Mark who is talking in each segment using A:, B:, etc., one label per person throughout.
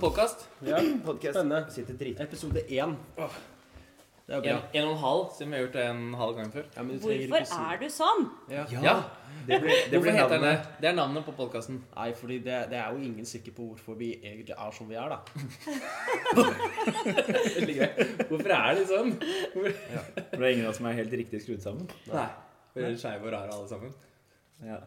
A: podkast.
B: Ja,
C: Podcast.
B: Spennende.
C: Sitter drit.
B: Episode én. Det er
A: En,
B: bra.
A: en og en halv, siden vi har gjort det en halv gang før.
B: Ja, men du trenger
D: Hvorfor
B: ikke si-
D: er du sånn?
B: Ja.
A: Ja,
C: Det ble, det
A: Hvorfor
C: ble
A: heter den det?
C: navnet.
A: Det er navnet på podkasten.
B: Nei, fordi det, det er jo ingen sikker på hvorfor vi egentlig er som vi er, da.
A: Hvorfor er de sånn?
C: For det er ingen av oss som er helt riktig skrudd sammen.
A: Nei. Vi er skeive og rare alle sammen.
C: Ja.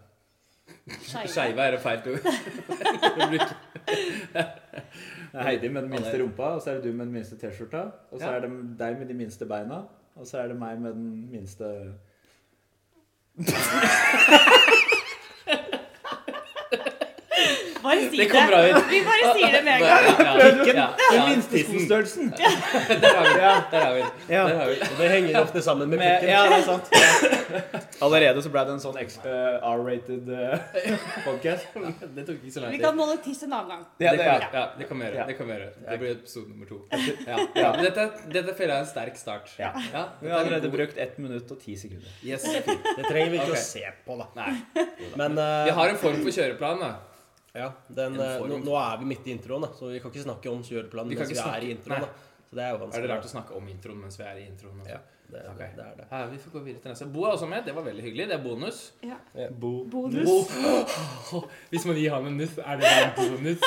D: Skeiv.
A: Skeive er et feil ord. Vi bruker-
C: Det er Heidi med den minste rumpa, og så er det du med den minste T-skjorta. Og så
A: Ja.
C: er det deg med de minste beina, og så er det meg med den minste
D: Bare si det.
A: Det kom bra ut.
D: Vi bare sier det med en gang.
A: Ja,
C: Den
A: ja,
C: minste skostørrelsen!
A: Der har vi det. Der har vi det.
C: Ja.
A: Der har vi det.
B: Og det henger ofte sammen med
C: Med,
B: pukken.
C: ja, det er sant. Allerede så ble det en sånn X- eh, R-rated uh, podcast.
A: Det tok ikke så lang
D: Vi
A: tid.
D: kan måle tiss en annen gang.
C: Ja,
A: det,
C: det
A: kan,
C: er.
A: ja, det kan vi gjøre.
C: Ja.
A: Det kan vi gjøre. Det blir episode nummer to. Ja.
C: Ja.
A: Men Dette, dette føler jeg er en sterk start.
C: Ja. Vi
A: dette er
C: har
A: en
C: allerede
A: god-
C: brukt 1 minutt og 10 sekunder.
A: Yes.
B: Det trenger vi ikke å
A: Ok.
B: se på, da.
A: Nei.
B: Men
A: Vi
B: eh,
A: har en form for kjøreplan, da.
B: ja, den,
A: en
B: eh,
A: form.
B: nå, nå er vi midt i introen, da, så vi kan ikke snakke om kjøreplanen
A: Vi kan
B: mens vi
A: ikke snakke-
B: er i introen.
A: Nei.
B: Da. Så det er jo
A: Er
B: vanskelig.
A: det rart å snakke om introen mens vi er i introen? også?
B: Ja. det, er-
A: Ok.
B: det er det.
A: Ja, vi får gå videre til neste. Bo er også med. Det var veldig hyggelig. Det er bonus.
D: Ja.
C: Bo.
D: Bonus.
A: Bo. Hvis man gir han en nuss, er det en bonus?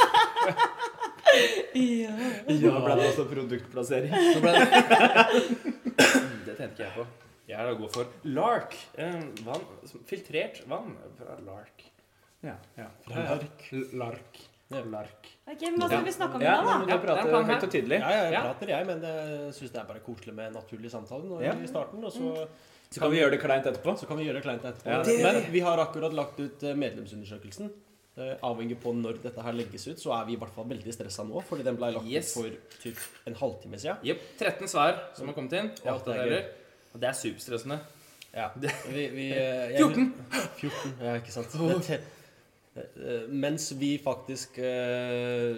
D: Ja.
C: Nå ble det også produktplassering.
A: Nå ble det Mm, Det tenkte ikke jeg på. Jeg er da god for Lark. Eh, Vann. Filtrert vann fra Lark.
C: Ja.
A: Fra Lark. Lark.
B: Ja.
A: Lark.
D: Ok, men Hva skal vi snakke om i
C: Ja,
D: dag,
C: nå
D: da?
C: må du
A: Ja, det
C: prate
A: er planen her.
C: høyt og tydelig.
B: Ja, ja, jeg
A: Ja.
B: prater, jeg, men jeg syns det er bare koselig med en naturlig samtale nå
C: Ja.
B: i starten. Og
A: Mm.
B: så,
C: Så kan vi gjøre det kleint etterpå.
B: så kan vi gjøre det kleint etterpå.
C: Ja.
B: Men vi har akkurat lagt ut eh, medlemsundersøkelsen. Eh, Avhengig på når dette her legges ut, så er vi i hvert fall veldig stressa nå. Fordi den ble lagt
A: Yes.
B: ut for typ en halvtime siden.
A: Jepp. 13 svar som har kommet inn.
B: Ja,
A: Åtte
B: det er
A: deler. Og det er superstressende.
B: Ja. Vi, vi, eh, jeg-
A: 14!
B: 14, ja, ikke sant. Det, te- eh, mens vi faktisk eh,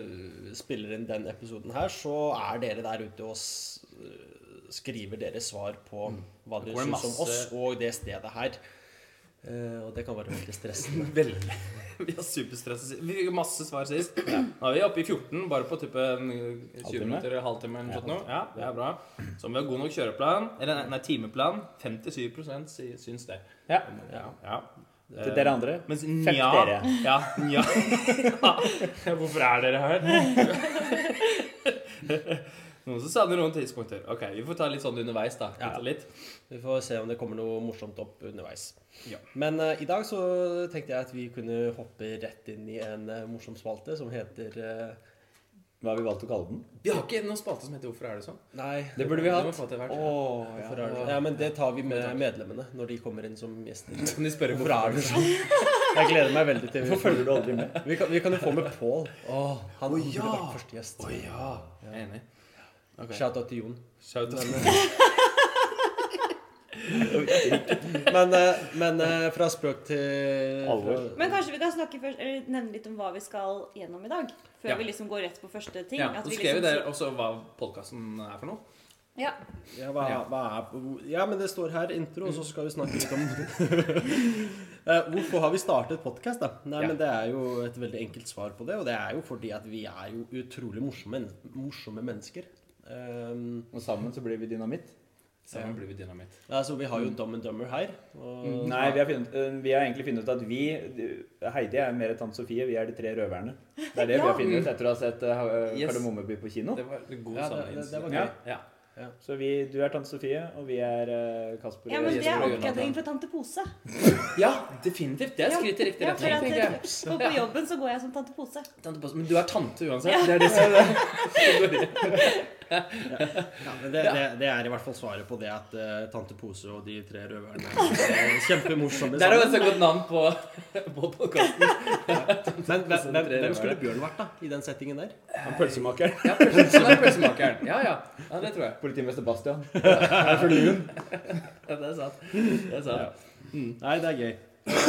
B: spiller inn den episoden her, så er dere der ute og s eh, skriver deres svar på hva
A: Det
B: dere
A: går
B: syns
A: masse-
B: om oss og det stedet her. Eh, og det kan være veldig stressende.
A: Veldig. Vi har superstressa sist. Vi fikk jo masse svar sist. Nå er vi oppe i 14, bare på type en 20
C: Halvtime.
A: minutter eller halvtime. eller noe sånt nå. Ja, det er bra. Så om vi har god nok kjøreplan, eller nei, nei, timeplan 57 sy- syns det.
C: Ja.
A: Ja. ja. Eh,
C: Til dere andre.
A: Mens
C: Fuck
A: nja
C: dere.
A: Ja, nja. Hvorfor er dere her? Noen som savner noen tidspunkter. Ok, Vi får ta litt sånn underveis, da.
B: Ja.
A: Litt og litt.
B: Vi får se om det kommer noe morsomt opp underveis.
A: Ja.
B: Men eh, i dag så tenkte jeg at vi kunne hoppe rett inn i en eh, morsom spalte som heter eh,
C: Hva har vi valgt å kalle den?
A: Vi har ikke noen spalte som heter 'Hvorfor er det sånn'?
B: Nei,
C: Det burde vi
A: Det må
C: hatt.
A: vi få til hvert.
C: Åh,
B: hvorfor
C: ja.
B: er det? ja, men det tar vi med medlemmene når de kommer inn som gjester.
A: Kan de spørre
B: Hvorfor er du sånn? Jeg gleder meg veldig til vi,
C: Hvorfor følger du aldri med?
B: vi, kan, vi kan jo få med Pål. Han
A: Å,
B: burde
A: ja.
B: vært første gjest.
A: Å ja. Jeg er enig.
B: Shout-out til Jon.
A: Shout out.
B: Men, eh, men eh, fra spøk til
C: Alvor.
B: Fra,
D: Men kanskje vi kan snakke først, eller nevne litt om hva vi skal gjennom i dag? Før
A: Ja.
D: vi liksom går rett på første ting.
A: Ja,
D: at
A: så
D: vi
A: skrev vi
D: liksom
A: der
D: sier-
A: også hva podkasten er for noe.
D: Ja.
B: ja, hva,
A: Ja.
B: hva er, ja, men det står her intro, og så skal vi snakke litt om Eh, Hvorfor har vi startet podkast, da? Nei,
A: Ja.
B: men Det er jo et veldig enkelt svar på det. Og det er jo fordi at vi er jo utrolig morsomme, morsomme mennesker. Um,
C: Og sammen så blir vi dynamitt.
A: Sammen blir vi dynamitt.
B: altså, vi
A: Mm.
B: har jo Dum and Dummer her. Og,
C: Nei, vi har, funnet, eh, vi har egentlig funnet ut at vi Heidi er mer tante Sofie, vi er de tre røverne. Det er det vi
D: Ja.
C: har funnet ut etter å ha sett eh,
A: Yes.
C: Kardemommeby på kino.
A: Det var en god
B: Ja, det-
A: sammenheng.
B: det- det var
C: gøy.
A: Ja.
C: Så vi, du er tante Sofie, og vi er eh, Kasper.
D: ja,
C: og
D: men det
C: Jesper
D: er
C: og Jonathan.
D: oppgradering fra tante Pose.
A: ja, definitivt. Det er skritt i riktig
D: Ja, for
A: retning.
D: at,
A: tenker jeg.
D: for på jobben så går jeg som tante Pose.
A: Tante Pås- Men du er tante uansett.
D: Ja.
A: Det er det som
B: Ja, men det, det, det er i hvert fall svaret på det at eh, tante Pose og de tre røverne er kjempemorsomme
A: Der har vi
B: sammen.
A: også et godt navn på, på podkasten.
B: Men hvem,
A: Pose og
B: hvem,
A: de tre
B: hvem
A: røverne.
B: skulle Bjørn vært da, i den settingen der?
C: Han pølsemakeren.
A: Ja, pølse- pølsemakeren. Ja, ja. ja, det tror jeg.
C: Politimester Bastian. Er for lun.
A: Ja, det er sant. Det er sant.
B: Nei, det er gøy.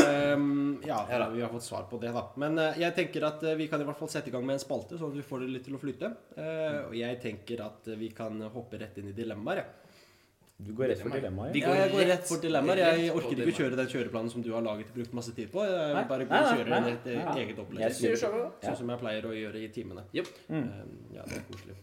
B: Ehm, ja,
A: Ja da.
B: vi har fått svar på det, da. Men eh, jeg tenker at eh, vi kan i hvert fall sette i gang med en spalte, sånn at vi får det litt til å flyte. Eh, og jeg tenker at eh, vi kan hoppe rett inn i dilemmaer, jeg.
C: Du går rett for
A: Dilemma.
C: dilemmaet.
A: De
C: ja.
B: Ja, jeg går rett for dilemmaer. Jeg
A: rett på
B: orker ikke
A: dilemmaer.
B: kjøre den kjøreplanen som du har laget og brukt masse tid på.
C: Nei,
B: Jeg bare går
C: nei,
B: og
C: nei,
B: kjører
C: nei,
B: et eh,
C: nei.
B: eget
C: Jeg
B: opplegg.
C: skriver
A: Sier showet.
B: Sånn som jeg pleier å gjøre i timene.
A: Jep.
B: Eh, Ja, det er koselig.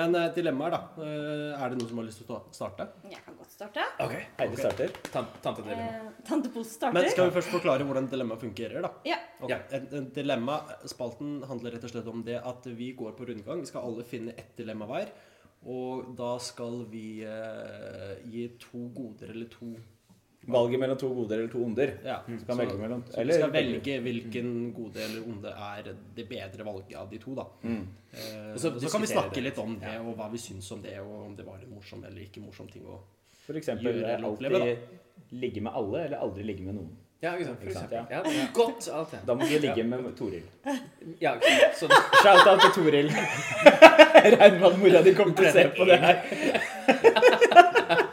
B: Men eh, dilemmaer, da. Eh, Er det noen som har lyst til å ta- starte?
D: Jeg kan godt starte.
A: Ok.
C: Heidi starter.
A: Tan- Tantedilemma.
D: Eh, Tante Pose starter.
B: Men skal vi først forklare hvordan dilemma fungerer, da?
D: Ja.
B: Ok,
A: Ja.
B: En, en dilemma, Spalten handler rett og slett om det at vi går på rundgang. Vi skal alle finne ett dilemma hver. Og da skal vi eh, gi to goder eller to
C: Valget mellom to goder eller to onder.
B: Ja.
C: Du kan velge mellom.
B: Så vi skal velge hvilken gode eller onde er det bedre valget av de to, da. Eh,
A: Og
B: så,
A: så
B: kan vi
A: diskutere
B: snakke
A: det.
B: litt om det, og hva vi syns om det, og om det var en morsom eller ikke morsom ting. å-
C: For eksempel eh,
B: Gjøre eller
C: alltid
B: oppleve,
C: ligge med alle, eller aldri ligge med noen.
A: Ja, ikke sant. For
C: Ikke sant,
A: eksempel. Ja. Godt alt det.
C: Da må du ligge med Toril.
A: Ja, ikke sant. sånn.
C: Shout-out til Toril. Jeg Regner med at mora di kommer til å se på det her.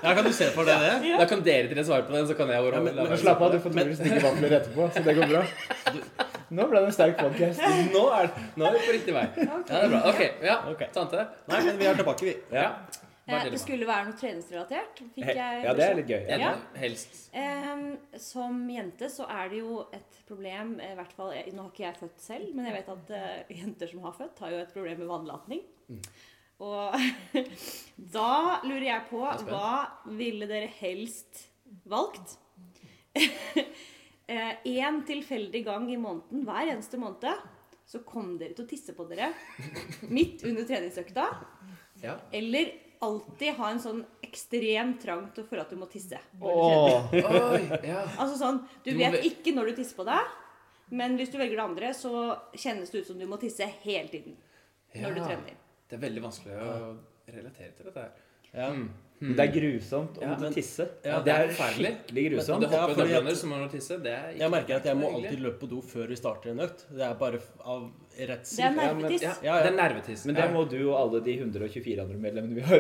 B: Ja, kan du se for deg det?
A: Da kan dere tre svare på den, så kan jeg
B: Ja,
A: overholde.
B: men-
A: la
B: men
A: meg-
B: slapp av, du
C: får
B: Toril
C: stikke vafler etterpå, så det går bra. Nå ble det en sterk podkast.
A: Nå er, det- nå er vi på riktig vei.
D: Ok.
A: Ja, det er bra. Ok, ja.
B: Ok.
A: Tante.
B: Nei, men vi er tilbake, vi.
A: Ja. Hva
D: Eh,
A: er
D: Det
A: dilemma?
D: skulle være noe treningsrelatert. Fikk jeg
C: Ja, det er litt gøy.
A: Ja.
D: Ja.
A: Helst.
D: Ehm, som jente så er det jo et problem eh, i hvert fall, jeg- Nå har ikke jeg født selv, men jeg vet at eh, jenter som har født, har jo et problem med vannlatning. Og da lurer jeg på
A: spent.
D: hva ville dere helst valgt? Én tilfeldig gang i måneden, hver eneste måned, så kom dere til å tisse på dere midt under treningsøkta.
A: Ja.
D: Eller alltid ha en sånn ekstrem trang til for at du må tisse.
A: Oi, ja.
D: Altså sånn,
A: Du
D: du,
A: må
D: vet
A: ve-
D: ikke når du tisser på deg, men hvis du velger det andre, så kjennes det ut som du må tisse hele tiden når du
A: Ja.
D: trener.
A: Det er veldig vanskelig å relatere til dette her.
B: Ja.
C: Det er grusomt å
A: Ja,
C: måtte
A: men-
C: tisse.
A: Ja,
C: det er
A: forferdelig.
C: skikkelig
A: Om
C: grusomt.
A: du hopper
B: Ja, fordi
A: under
B: at-
A: brønner, så må du tisse. Det er ikke
B: Jeg merker at jeg må
A: så hyggelig.
B: alltid løpe på do før vi starter en økt. Det er bare f- av redsel.
D: Det er
C: Ja, men-
D: nervetiss.
A: ja,
B: Ja, ja.
A: Det er nervetiss.
C: Men det må du og alle de 124 andre medlemmene vi har.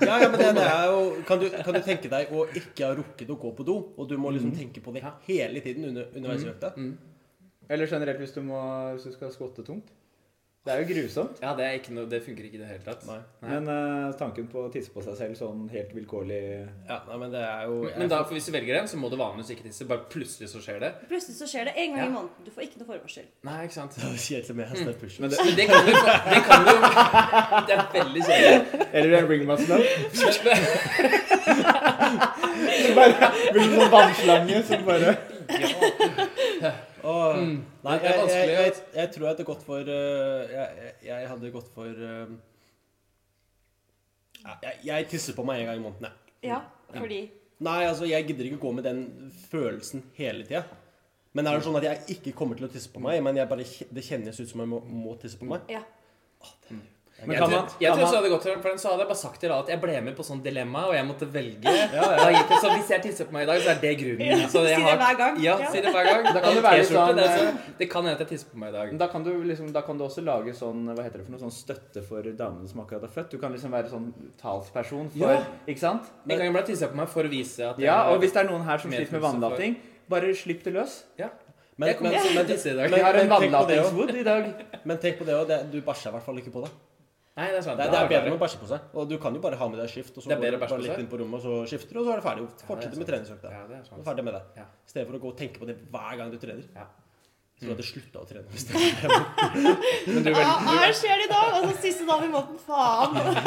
B: Ja, ja, men det, det er jo, kan, du, kan du tenke deg å ikke ha rukket å gå på do, og du må
A: Mhm.
B: liksom tenke på det hele tiden under, underveis i økta?
C: Eller generelt hvis du, må, hvis du skal skvotte tungt. Det er jo grusomt.
A: Ja, det, er ikke noe, det funker ikke i det hele tatt.
B: Nei.
A: Nei.
C: Men eh, tanken på å tisse på seg selv sånn helt vilkårlig
B: Ja, nei, men det er jo
A: Men da, for hvis du velger den, så må du vanligvis ikke tisse. Bare plutselig så skjer det.
D: Plutselig så skjer det en gang
A: Ja.
D: i måneden. Du får ikke noe forvarsel.
A: Nei, ikke sant?
B: Det er jo kjedelig med hest push
C: Men det-
A: Mhm. Men det kan du Det, kan du, det er veldig kjedelig.
C: Eller en ringmaster.
A: Men-
C: Bare blir det sånn vannslange som bare
A: Ja.
B: Åh, Nei,
A: Mhm. Det er
B: jeg, jeg,
A: vanskelig,
B: jeg,
A: altså.
B: jeg tror jeg hadde gått for øh, jeg, jeg- jeg hadde gått for øh, ja, jeg, jeg tisser på meg en gang i måneden, jeg.
D: Ja,
A: Mm.
D: fordi
B: Nei, altså, jeg gidder ikke gå med den følelsen hele tida. Men er det sånn at jeg ikke kommer til å tisse på meg, men jeg bare, kje- det kjennes ut som jeg må, må tisse på meg?
D: Ja.
C: Men
A: Jeg
C: kan
A: tror
C: man,
A: jeg
C: kan
A: tror så
C: man,
A: hadde det gått for den, så hadde jeg bare sagt til alle at jeg ble med på sånn dilemma, og jeg måtte velge. Da gikk jeg, så hvis jeg tisser på meg i dag, så er det grunnen.
D: Ja,
A: Så altså, jeg
D: si det hver gang.
A: Ja,
D: Ja.
A: si det hver gang.
C: Da kan det være litt
A: T-skjorte,
C: sånn,
A: det, er så, det kan hende at jeg tisser på meg i dag.
C: da, kan du liksom, da kan du også lage sånn hva heter det for noe, sånn støtte for damene som akkurat er født. Du kan liksom være sånn talsperson for
B: Ja.
C: Ikke sant?
A: En gang iblant tisser jeg på meg for å vise at jeg
C: Ja, Og hvis det er noen her som
A: Medfølelse
C: sliter med vannlating, bare slipp det løs.
A: ja.
B: Men,
A: Jeg kommer
B: men,
A: til å
B: men,
A: tisse i dag.
C: Vi har en
B: men tenk på det også.
C: vannlatingswood i dag.
B: men tenk på det òg, du bæsjer i hvert fall ikke på deg.
A: Nei, det er sant.
B: Det, det
A: Da
B: er bedre å
A: det-
B: bæsje på seg. Og du kan jo bare ha med deg skift, og så
A: Det er
B: går
A: bedre
B: du
A: å bæsje
B: bare
A: på
B: litt
A: seg.
B: inn på rommet, og så skifter du, og så er det ferdig.
A: Ja, det
B: Fortsette
A: er
B: med treningsøkta.
A: Ja, det er sant.
B: Og ferdig med det.
A: Ja.
B: I stedet for å gå og tenke på det hver gang du trener.
A: Ja. Mm.
B: Jeg tror jeg hadde slutta å trene. hvis det-
C: Men du,
D: Ah, her skjer det i dag! Og så siste dag i måneden. Faen!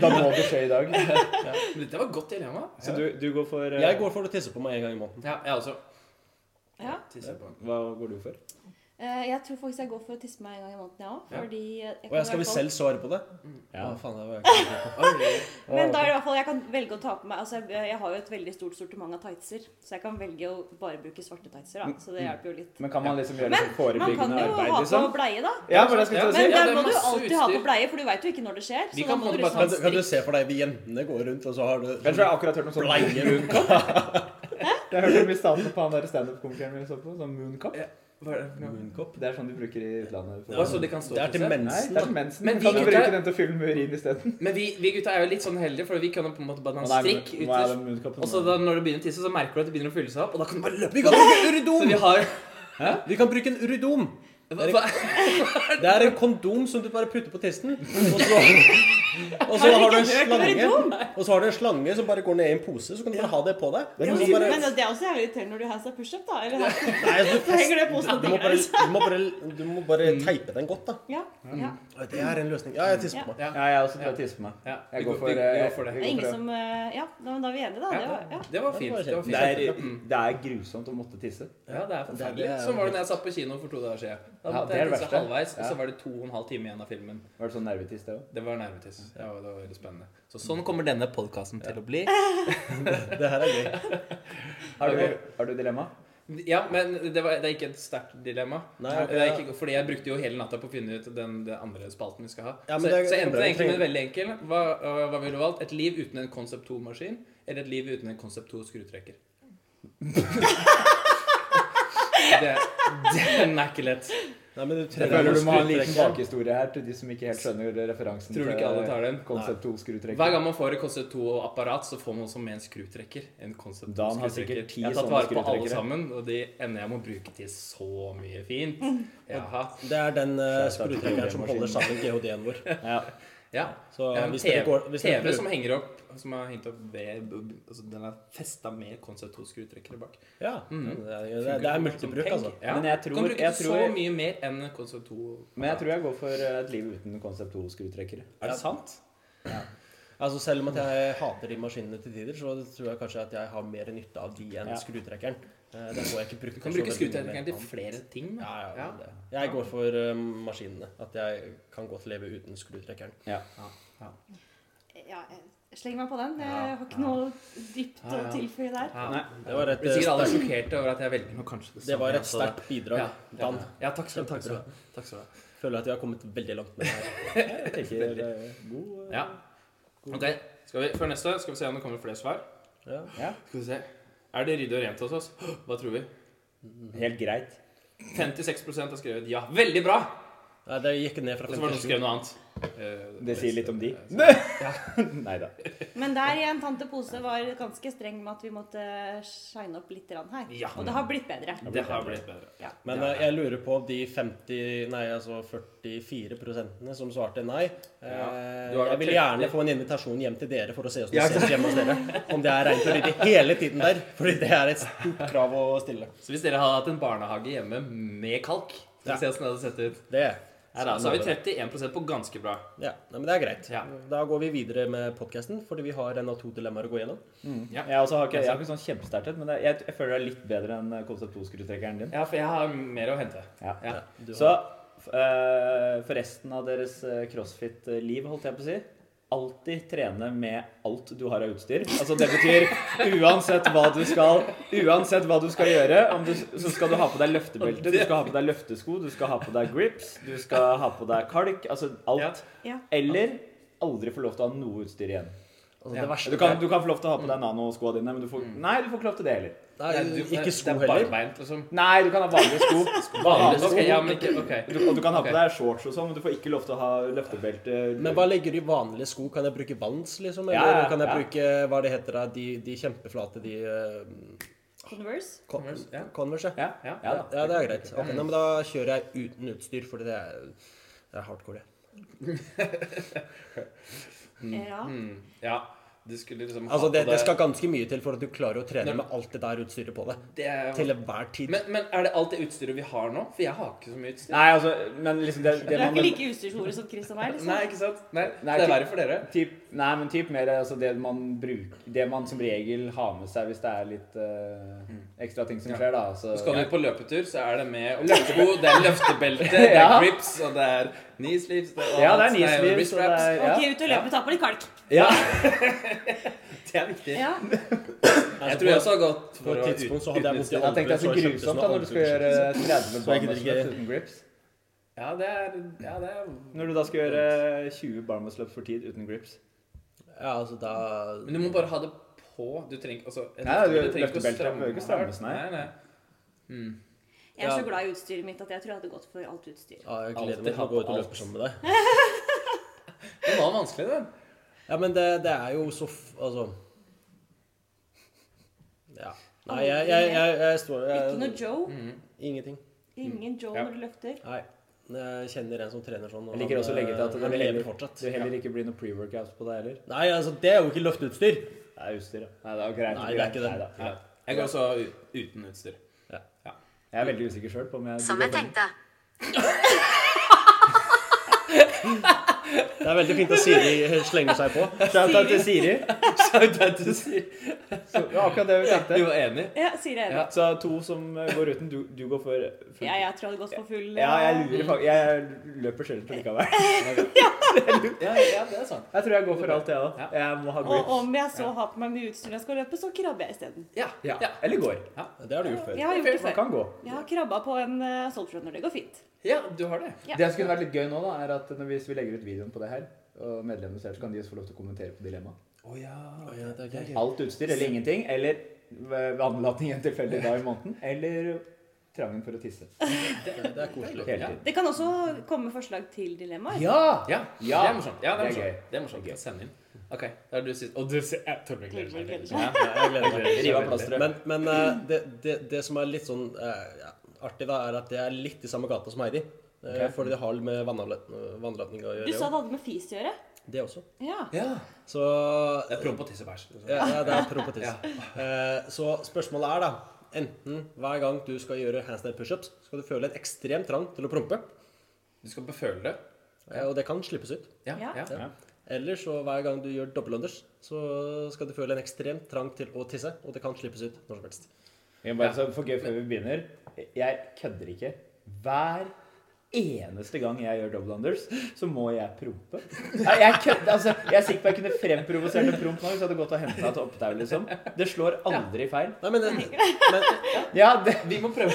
C: da må det skje i dag.
A: Men Dette var et godt dilemma.
C: Så du, du går for eh,
B: Jeg går for å tisse på meg en gang i måneden.
A: Ja, jeg også.
D: Ja.
A: Tisser på meg.
C: Hva går du for?
D: Eh, Jeg tror faktisk jeg går for å tisse meg en gang i måneden, jeg òg.
A: Ja.
D: Fordi jeg kan
B: Og jeg skal
D: i
B: vi
D: hvert fall-
B: selv svare på det?
A: Mm.
C: Ja.
B: Å, faen, det var jeg ikke
A: Oi.
D: Men da er det i hvert fall jeg kan velge å ta på meg altså jeg, jeg har jo et veldig stort sortiment av tightser, så jeg kan velge å bare bruke svarte tightser,
A: Mm,
D: da. Så det hjelper jo litt.
C: Men kan man liksom gjøre
D: Men
C: litt
D: man kan
C: forebyggende
D: jo
C: arbeid,
D: ha på
C: liksom?
D: bleie, da.
C: Ja, for det skulle
A: Men
C: jeg
D: Men
C: til å si.
A: Altså, det er masse
D: der må du alltid ha på
A: utstyr.
D: bleie, for du veit jo ikke når det skjer.
A: Vi
D: Så da
A: kan
D: må
A: på en
D: du
B: Kan
A: måte bare
B: du,
D: liksom
B: kan du se for deg vi jentene går rundt, og så har du sånn
C: Jeg tror jeg akkurat hørte noe sånt.
B: bleie rundt?
C: Jeg hørte om i staten på han der standup-komikeren vi så på, sånn Mooncup.
A: Hva er det for noe?
B: Munnkopp?
C: Det er sånn de bruker i utlandet.
A: Hva, så de kan stå
B: Det er til
A: og tisse?
B: mensen.
C: Nei, det er
B: da.
C: til mensen.
A: Men
C: Men
A: vi
C: kan du
A: gutter-
C: bruke den til å fylle med urin isteden?
A: Men vi, vi gutta er jo litt sånn heldige, for vi kan jo på en måte bare ha en strikk
C: Hva er
A: ytterst.
C: den Mooncupen?
A: Og så da, når du begynner å tisse, så merker du at det begynner å fylle seg opp, og da kan du bare løpe.
B: Vi kan bruke
A: Så
C: Oh!
B: uridom!
A: vi har
B: Vi kan bruke en uridom.
A: hva, hva?
B: Det er en kondom som du bare putter på tissen, og så Og så har du en
D: Herregud, jeg er
B: slange
D: ikke dum.
B: Og så har du en slange som bare går ned i en pose, så kan du bare ha det på deg.
D: Ja,
B: Og så
D: men,
B: bare,
D: men det er også jævlig irriterende når du har seg pushup, da. Eller har-
B: nei, altså, du,
D: så henger det i posen og
B: du må
D: dekker
B: bare,
D: deg.
B: du må bare, du må bare teipe den godt, da.
D: Ja,
A: Mm,
D: ja.
B: Det er en løsning. Ja, jeg tisser på meg.
A: Ja.
C: Ja, jeg også prøver å tisse på meg.
A: Ja,
C: Jeg
A: vi
C: går for,
A: vi- vi
C: eh,
A: går for det.
D: Det er ingen som eh, Ja, da, da er vi enige, da. Det var, ja.
A: Det var fint. Det var
C: Det
A: fint.
C: er, det er grusomt å måtte tisse.
A: Ja, det er forferdelig.
B: Det er-
A: Sånn var det da jeg satt på kino for to dager siden. Da
C: Ja,
A: måtte
C: det er
A: jeg
C: det
A: tisse
C: verste.
A: halvveis, og
C: Ja.
A: så var det to og en halv time igjen av filmen.
C: Var det sånn nervetiss, det òg?
A: Det var nærmetiss. Ja, det var veldig spennende. Så sånn kommer denne podkasten til å bli.
B: Det her er gøy.
C: Har, du- har du dilemma?
A: Ja, men det, var, det er ikke et sterkt dilemma.
B: Nei, ok,
A: det er
B: ja.
A: ikke, fordi jeg brukte jo hele natta på å finne ut den, den andre spalten vi skal ha.
B: Ja, men det
A: så,
B: er-
A: så endte
B: det er
A: det egentlig med
B: trenger-
A: en veldig enkel. Hva, øh, hva ville du valgt? Et liv uten en Concept 2-maskin eller et liv uten en Concept 2-skrutrekker? det, den er ikke lett.
B: Nei, men du
C: Jeg
B: trenger
C: føler du må ha en liten
B: skruttrekker.
C: bakhistorie her til de som ikke helt skjønner referansen. eh,
A: Tror du ikke alle tar den?
C: Konsept
A: Hver
C: 2-skrutrekker.
A: gang man får et Concept 2-apparat, så får man også med en skrutrekker. En Concept
C: Dan har
A: 2-skrutrekker.
C: sikkert ti
A: Jeg har tatt
C: sånne
A: vare på alle
C: skrutrekkere.
A: sammen, og de ender jeg må bruke til så mye fint. Jaha.
B: Det er den uh, sprutrekkeren som
C: Skjønner.
B: holder sammen geodeen vår.
C: Ja.
A: Ja.
B: Så
A: Ja, men
B: hvis dere
A: TV,
B: går hvis dere
A: TV
B: bruker-
A: som henger opp Som har hengt opp ved altså Den er festa med Concept 2-skrutrekkere bak.
B: Ja.
A: Mm.
B: Det, er- det, det er multibruk, altså.
A: Ja.
C: Men jeg tror-
A: kan bruke
C: jeg
A: til
C: tror-
A: så mye mer enn Concept 2.
C: Men jeg tror jeg går for eh, et liv uten konsept 2-skrutrekkere.
A: Er det sant?
B: altså. Selv om at jeg hater de maskinene til tider, så tror jeg kanskje at jeg har mer nytte av de enn
C: Ja.
B: skrutrekkeren. Eh, Den får jeg ikke brukt.
A: Du kan
B: så veldig
A: bruke
B: mye
A: skrutrekkeren
B: mer
A: til
B: annet.
A: flere ting. da.
B: Ja, ja,
A: Ja.
B: men det. Jeg går for eh, maskinene. At jeg kan godt leve uten skrutrekkeren.
C: Ja.
D: ja jeg slenger meg på den. Jeg
A: Ja,
D: har ikke noe dypt å
A: Ja, ja.
D: tilføye der.
A: Ja.
C: Nei.
B: Det var et,
A: Blir sikkert alle
B: sterkt,
A: sjokkerte over at jeg velger noe kanskje
B: det var et
A: samme, altså.
B: sterkt bidrag.
A: Ja.
B: Dan,
A: Ja, takk skal du
B: Takk
A: takk
B: skal
A: skal du ha. Takk skal du ha.
B: føler at vi har kommet veldig langt med det her.
C: Jeg tenker eh, god eh,
A: Ja. Ok, skal vi, Før neste skal vi se om det kommer flere svar.
B: Ja.
A: Skal vi se. Er det ryddig og rent hos oss? Hva tror vi?
C: Helt greit.
A: 56 har skrevet ja. Veldig bra!
B: Nei, det gikk ned fra
A: Og så var det noen som
B: 57.
A: skrev noe annet. Eh,
C: Det sier litt om de.
A: eh,
C: Nei da.
D: Men der igjen, tante Pose var ganske streng med at vi måtte shine opp litt grann her.
A: Ja.
D: Og det har blitt bedre.
A: Det har blitt bedre.
B: Men eh, jeg lurer på om de 50, nei, altså 44 prosentene som svarte nei
A: Ja.
B: eh,
A: Du har
B: Jeg
A: da
B: vil
A: 30.
B: gjerne få en invitasjon hjem til dere for å se oss
A: Ja,
B: ja, ses hjemme hos dere. Om det er rent og ryddig hele tiden der. Fordi det er et stort krav å stille.
A: Så hvis dere hadde hatt en barnehage hjemme med kalk Skal vi
B: Ja. Sånn
A: se hvordan det hadde sett ut.
B: Det.
A: Her da, så har vi 31 på ganske bra.
B: Ja, nei, men det er greit.
A: Ja.
B: Da går vi videre med podkasten, fordi vi har en av to dilemmaer å gå gjennom.
C: Jeg, også har ikke, jeg har ikke sånn kjempesterkt et, men det, jeg, jeg føler det er litt bedre enn eh, konsept 2-skrutrekkeren din.
A: Ja, for jeg har mer å hente.
C: Ja.
A: Ja.
B: Du
C: Så
B: har-
C: f- eh, for resten av deres eh, crossfit-liv, holdt jeg på å si Alltid trene med alt du har av utstyr. Altså Det betyr uansett hva du skal Uansett hva du skal gjøre, om du, så skal du ha på deg løftebelte, du skal ha på deg løftesko, du skal ha på deg grips, du skal ha på deg kalk. Altså
A: Ja.
C: alt.
D: Ja.
C: Eller aldri få lov til å ha noe utstyr igjen.
B: altså,
A: ja.
B: det verste
C: Du kan, du kan få lov til å ha på deg nanoskoa dine, men du får, nei, du får ikke lov til det heller.
B: Nei,
A: Nei, du-
B: Ikke sko
A: Det er
B: heller.
A: barbeint, liksom.
C: Nei, du kan ha vanlige sko. Vanlige
A: Ok, ja, men ikke,
C: Du,
A: ok.
C: og du kan ha på
A: Ok.
C: deg shorts og sånn, men du får ikke lov til å ha eh, løftebelte.
B: Men hva legger du i vanlige sko? Kan jeg bruke vans, liksom?
C: Ja,
B: Eller
C: ja,
B: kan jeg
C: ja.
B: bruke hva det heter da, de, de kjempeflate, de eh,
D: Converse.
B: Con-
A: Converse, ja.
B: Converse, ja.
C: Ja,
A: Ja.
C: ja da.
B: Ja, det er greit. Ok, nei, men da kjører jeg uten utstyr, fordi det er, det er hardcore, det.
D: Ja.
A: Mm, ja. Du skulle liksom ha
B: Altså, det,
A: på
B: det
A: deg-
B: skal ganske mye til for at du klarer å trene med alt det der utstyret på deg.
A: det er-
B: Til enhver tid.
A: men, men er det alt det utstyret vi har nå? For jeg har ikke så mye utstyr.
C: Nei, altså, men liksom det,
D: Du
C: det
D: er
C: man
D: ikke like utstyrsordet som Chris og meg, liksom.
A: Nei, ikke sant? Nei,
C: Nei,
A: Det er
C: ikke-
A: verre for dere.
C: typ, Nei, men typ mer altså det man bruker Det man som regel har med seg hvis det er litt eh, ekstra ting som
A: Ja.
C: skjer, da. Så,
A: Skal
C: ja.
A: du på løpetur, så er det med løpesko, det er løftebelte, det er
C: Ja.
A: grips, og det er knee sleeves det er
C: ja, det er
A: alt.
C: nisliv,
A: wrist
C: så det
A: wraps.
C: er
D: Ok,
C: ja.
D: ut og løpe, ta på litt kalk.
C: ja.
A: Det er viktig.
D: Ja.
B: Altså,
A: Jeg tror jeg også har gått
B: På
A: for
B: et
A: å
B: tidspunkt så hadde jeg vondt i
C: Jeg tenkte det er
B: håndleddet, så
C: så
B: jeg kjøpte
C: grusomt da
B: sånne
C: når du skal gjøre
B: håndleddsskift. Så
C: 30
B: jeg gidder
C: barmarsløp
B: ikke-
C: uten grips.
A: Ja, det er, ja, det er
C: Når du da skal gjøre 20 barmarsløp for tid uten grips.
B: Ja, altså, da
A: Men du må bare ha det på. Du trenger ikke altså,
C: Nei, du-
A: du trenger ikke å
C: løftebeltet
A: stramme
C: behøver ikke strammes, nei.
A: Nei, nei. Mm.
D: Jeg er
B: Ja.
D: så glad i utstyret mitt at jeg tror jeg hadde gått for alt utstyr.
B: ja, Jeg
A: Alltid
B: gleder meg til
A: ha
B: å gå
A: på
B: ut og
A: alt.
B: løpe sammen med deg.
A: Det var vanskelig, den.
B: Ja, men det, det er jo så f- Altså Ja. Nei, jeg, jeg, jeg, jeg står jeg,
D: Ikke noe Joe.
B: Ingenting.
D: Ingen Joe
A: Mm. Ja.
D: når du løfter.
B: Nei. Jeg kjenner en som trener sånn. og
C: Jeg liker
B: han,
C: også å legge til at
B: eh,
C: det
B: han
C: vil
B: lever
C: heller,
B: fortsatt.
C: det vil heller ikke bli noe pre-workouts på deg heller.
B: Nei, altså, det er jo ikke løfteutstyr.
C: Det er utstyr, da. Nei, det er jo greit.
B: Nei, det er ikke det.
C: Nei, da.
A: Ja. Jeg går også u- uten utstyr.
C: Jeg er veldig usikker sjøl på om jeg
E: Som jeg tenkte.
B: Det er veldig fint at Siri slenger seg på.
C: Shout-out til Siri.
A: Vi
C: Så, det var akkurat det vi tenkte.
A: var enige.
D: Ja, sier jeg.
C: Ja, så to som eh, går uten. Du, du går for full.
D: Ja, jeg tror jeg hadde gått for full eh,
C: Ja, jeg lurer faktisk Jeg løper sjelden likevel.
A: Ja, ja, det er sant.
C: Jeg tror jeg går for alt, jeg òg. Jeg må ha
D: Og
C: grips.
D: om jeg så har på meg mye utstyr når jeg skal løpe, så krabber jeg isteden.
A: Ja,
C: Ja.
A: ja.
C: Eller går.
B: Det har du gjort før.
D: Jeg har gjort det
C: Man
D: før.
C: kan gå.
D: Jeg har krabba på en uh, Soultrunner. Det går fint.
A: ja du har det.
D: Ja.
C: Det som kunne vært litt gøy nå, da, er at når vi, hvis vi legger ut videoen på det her, og medlemmene ser, så kan de også få lov til å kommentere på dilemmaet.
A: Å ja.
B: Ja, det er gøy.
C: Alt utstyr eller ingenting, eller v- vannlating en tilfeldig dag i måneden, eller trangen for å tisse
B: Det er koselig.
C: hele
A: Ja.
C: tiden.
D: Det kan også komme forslag til dilemmaer.
C: Ja!
A: Ja,
C: Ja.
A: det er morsomt. Ja, det er
C: Det er gøy.
A: morsomt. Det er morsomt.
C: Det er gøy.
A: Send inn. OK. Da er du sist. Og du sier Jeg Torbjørn gleder seg.
D: Torbjørn gleder
A: Ja.
B: Ja, jeg gleder meg.
C: Rive av plasteret.
B: Men, men eh, det, det, det som er litt sånn eh, ja, artig, da, er at det er litt i samme gata som Heidi. Eh,
C: Ok.
B: Fordi det har med vannavlet- vannlatning å
D: Du sa
B: gjøre.
D: det hadde med fis å gjøre.
B: jo. Det også.
D: Ja.
A: ja.
B: Så
A: Det er promp og tiss og bæsj.
B: Ja, ja, det er propetis. Eh, så spørsmålet er da Enten hver gang du skal gjøre handstand pushups, skal du føle en ekstrem trang til å prompe,
A: Du skal beføle det.
B: eh, og det kan slippes ut.
A: Ja.
D: Ja.
A: ja.
B: Ja. Eller så hver gang du gjør dobbeltunders, så skal du føle en ekstrem trang til å tisse, og det kan slippes ut når som helst.
C: Men bare så for gøy før vi begynner, jeg kødder ikke. Hver eneste gang jeg gjør double unders, så må jeg prompe. Nei, Jeg, kødder, altså, jeg er sikker på at jeg kunne fremprovosert en promp nå hvis jeg hadde gått og henta et opptau, liksom. Det slår aldri feil.
B: Nei, men, eh, men,
C: Ja, det,
A: Vi må prøve.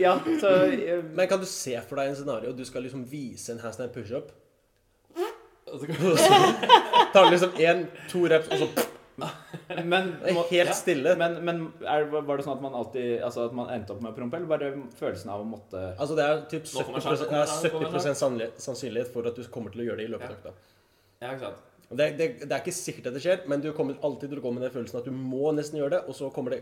C: ja så eh,
B: men kan du se for deg en scenario du skal liksom vise en handstand pushup?
A: Og så kan-
B: og så Tar du liksom én, to reps, og så
C: Men,
B: det er
C: må-
B: helt stille.
C: men, men er, var det sånn at man alltid Altså at man endte opp med å prompe, eller bare følelsen av å måtte
B: Altså det er typ
A: Nå kommer
B: 70,
A: sjansen,
B: det er
A: nå
B: 70 sannli- sannsynlighet for at du kommer til å gjøre det i løpet av økta.
A: Ja, ikke sant.
B: Og Det, det, det er ikke sikkert at det skjer, men du kommer alltid til å gå med den følelsen at du må nesten gjøre det, og så kommer det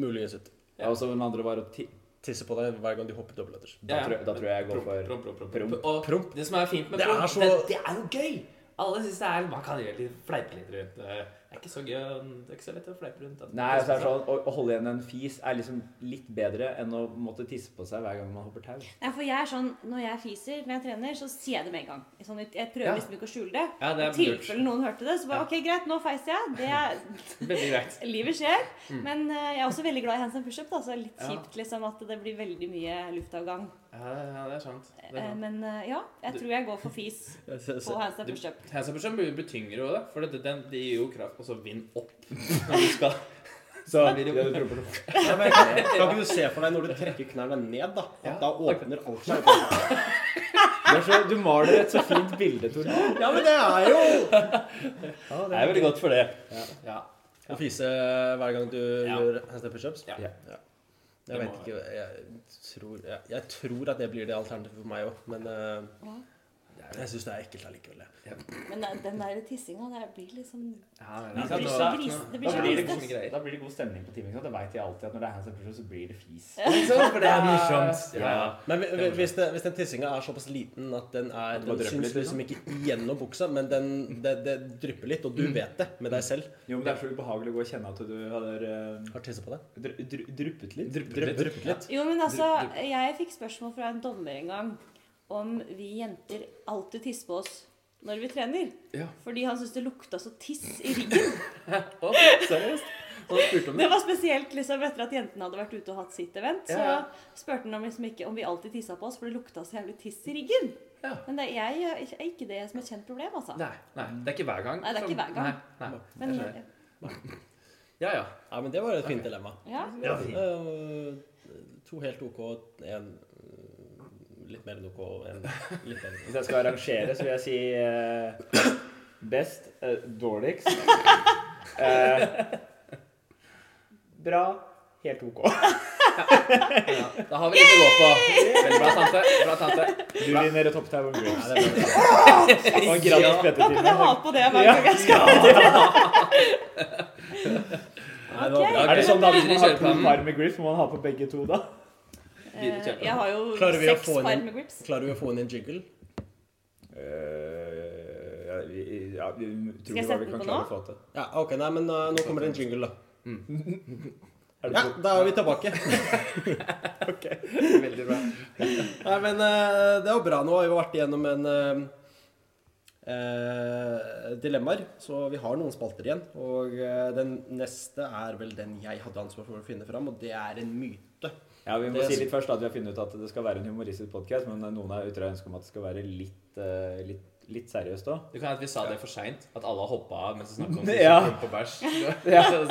B: muligens ut.
C: ja. Og så den altså, andre var å ti...
B: Tisse på deg hver gang du hopper dobbeltletters.
C: Da tror jeg- da tror jeg jeg går
A: Promp,
C: for
A: promp, promp, promp,
C: promp.
A: promp. Og
B: Promp.
A: det som er fint med
B: Det
A: promp,
B: er så-
A: det, det er jo gøy! Alle syns det er Man kan gjøre litt fleipe litt rundt. Det er ikke så gøy Det er ikke så lett å fleipe rundt.
C: Nei, altså, det er sånn, å, å holde igjen en fis er liksom litt bedre enn å måtte tisse på seg hver gang man hopper tau.
D: Nei, for jeg er sånn, Når jeg fiser når jeg trener, så sier jeg det med en gang. Sånn, jeg- jeg prøver
A: Ja.
D: liksom ikke å skjule det.
A: Ja, det er
D: I tilfelle
A: lurt.
D: noen hørte det, så bare
A: Ja.
D: OK, greit, nå feiser jeg. Det er,
A: Veldig greit.
D: livet skjer. Men eh, jeg er også veldig glad i hands and pushup. da, så det er Litt
A: Mm. Ja.
D: kjipt liksom at det blir veldig mye luftavgang.
A: Ja, ja, det er sant. Det er
D: Eh,
A: sant.
D: Men eh, ja, jeg tror jeg går for fis på hands and
A: Du-
D: pushup.
A: Hands up push-up blir blir tyngre òg, da. For det, den, de gir jo kraft. Og så vind opp. Når du skal
C: Så
A: blir det jo-
C: ja, du promper nå.
B: Ja, men kan, kan ikke du se for deg når du trekker knærne ned, da? At da åpner alt seg?
C: Du er så- Du maler et så fint bilde, Tor.
B: Ja, men det er jo
A: Det er veldig godt for det. Ja.
B: Å fise hver gang du
A: Ja.
B: gjør handstand pushups?
A: Ja.
B: Jeg
A: Det
B: vet
A: må
B: ikke Jeg tror, jeg, jeg tror at det blir det alternativet for meg òg, men eh,
D: Ja.
B: jeg syns det er ekkelt allikevel. jeg.
D: Men eh, den der tissinga, det blir liksom
A: Ja,
D: Det
A: sant.
D: blir
A: Nå-
D: så gris, det blir
A: Da
D: så
A: blir det liksom
D: grisete.
A: morsomme greier.
C: Da blir det god stemning på timen. ikke sant? Da veit jeg alltid at når det er hands up push-up, så blir det fis.
A: For det er morsomt. Ja.
B: Men hvi- hvi- hvis, det, hvis den tissinga er såpass liten at den, er,
C: bare
B: den
C: drypper
B: syns
C: litt,
B: liksom ikke gjennom buksa, men den, det, det drypper litt, og du vet det med deg selv.
C: Jo, men det er så ubehagelig å gå og kjenne at du har eh,
B: Har tissa på deg.
C: dru- dru- druppet litt.
A: Dryppet litt.
B: Dryppet litt.
D: Jo, men altså, jeg fikk spørsmål fra en dommer en gang om vi jenter alltid tisser på oss når vi trener.
A: Ja.
D: Fordi han syntes det lukta så tiss i ryggen.
A: Å, seriøst? Og du spurte om
D: Det
A: det?
D: var spesielt liksom etter at jentene hadde vært ute og hatt sitt event. Så
A: Ja, ja.
D: spurte han om, liksom ikke, om vi alltid tissa på oss, for det lukta så jævlig tiss i ryggen.
A: Ja.
D: Men det er, jeg, er ikke det som er et kjent problem, altså.
A: Nei, nei. Det er ikke hver gang.
D: Nei, det er ikke
A: som-
D: hver gang.
A: Nei, nei.
D: Men,
A: Jeg skjønner. Ja, ja.
B: Ja, men det var et fint dilemma.
D: ja.
B: Eh, to helt OK, én litt mer enn OK, én litt bedre.
C: Hvis jeg skal arrangere, så vil jeg si eh, best, eh, dårligst eh, Bra, helt ok.
A: ja. Da har vi litt å gå på. Veldig bra, tante. Bra, tante.
C: Du vinner et hopptau og en
B: Ja,
C: grips.
B: det var bra.
C: Og en gratis
D: Da kan jeg ha
C: PT-time.
D: på det hver gang jeg skal.
B: Nei, det var bra.
C: Er det sånn da hvis man har
A: Kjører på
C: to
A: den.
C: par med grips, må man ha på begge to da?
A: Gidder
D: Eh,
A: ikke.
D: Jeg har jo
B: Klarer vi å
D: seks
B: få inn
D: par
B: en-
D: med grips.
B: Klarer vi å få inn en jiggle?
C: Eh, ja, vi- ja, vi
D: jeg
C: tror vi hva
D: sette
C: vi
D: den
C: kan
D: på
C: klare
D: nå?
C: å få til.
B: Ja, ok, nei, men eh, nå kommer det en jingle, da.
C: Er det
B: Ja,
C: på-
B: da er vi tilbake.
C: Veldig bra.
B: Nei, men eh, det er jo bra. Nå har vi vært igjennom en eh, eh, dilemmaer, så vi har noen spalter igjen. Og eh, den neste er vel den jeg hadde ansvar for å finne fram, og det er en myte.
C: Ja, Vi må
B: Det-
C: si litt først da, at vi har funnet ut at det skal være en humoristisk podkast, men eh, noen er ute av ønske om at det skal være litt, eh, litt, litt seriøst òg.
A: Det kan hende at vi sa det for seint. At alle har hoppa av mens vi snakket om
C: Ja.
A: folk på bæsj.
C: Ja.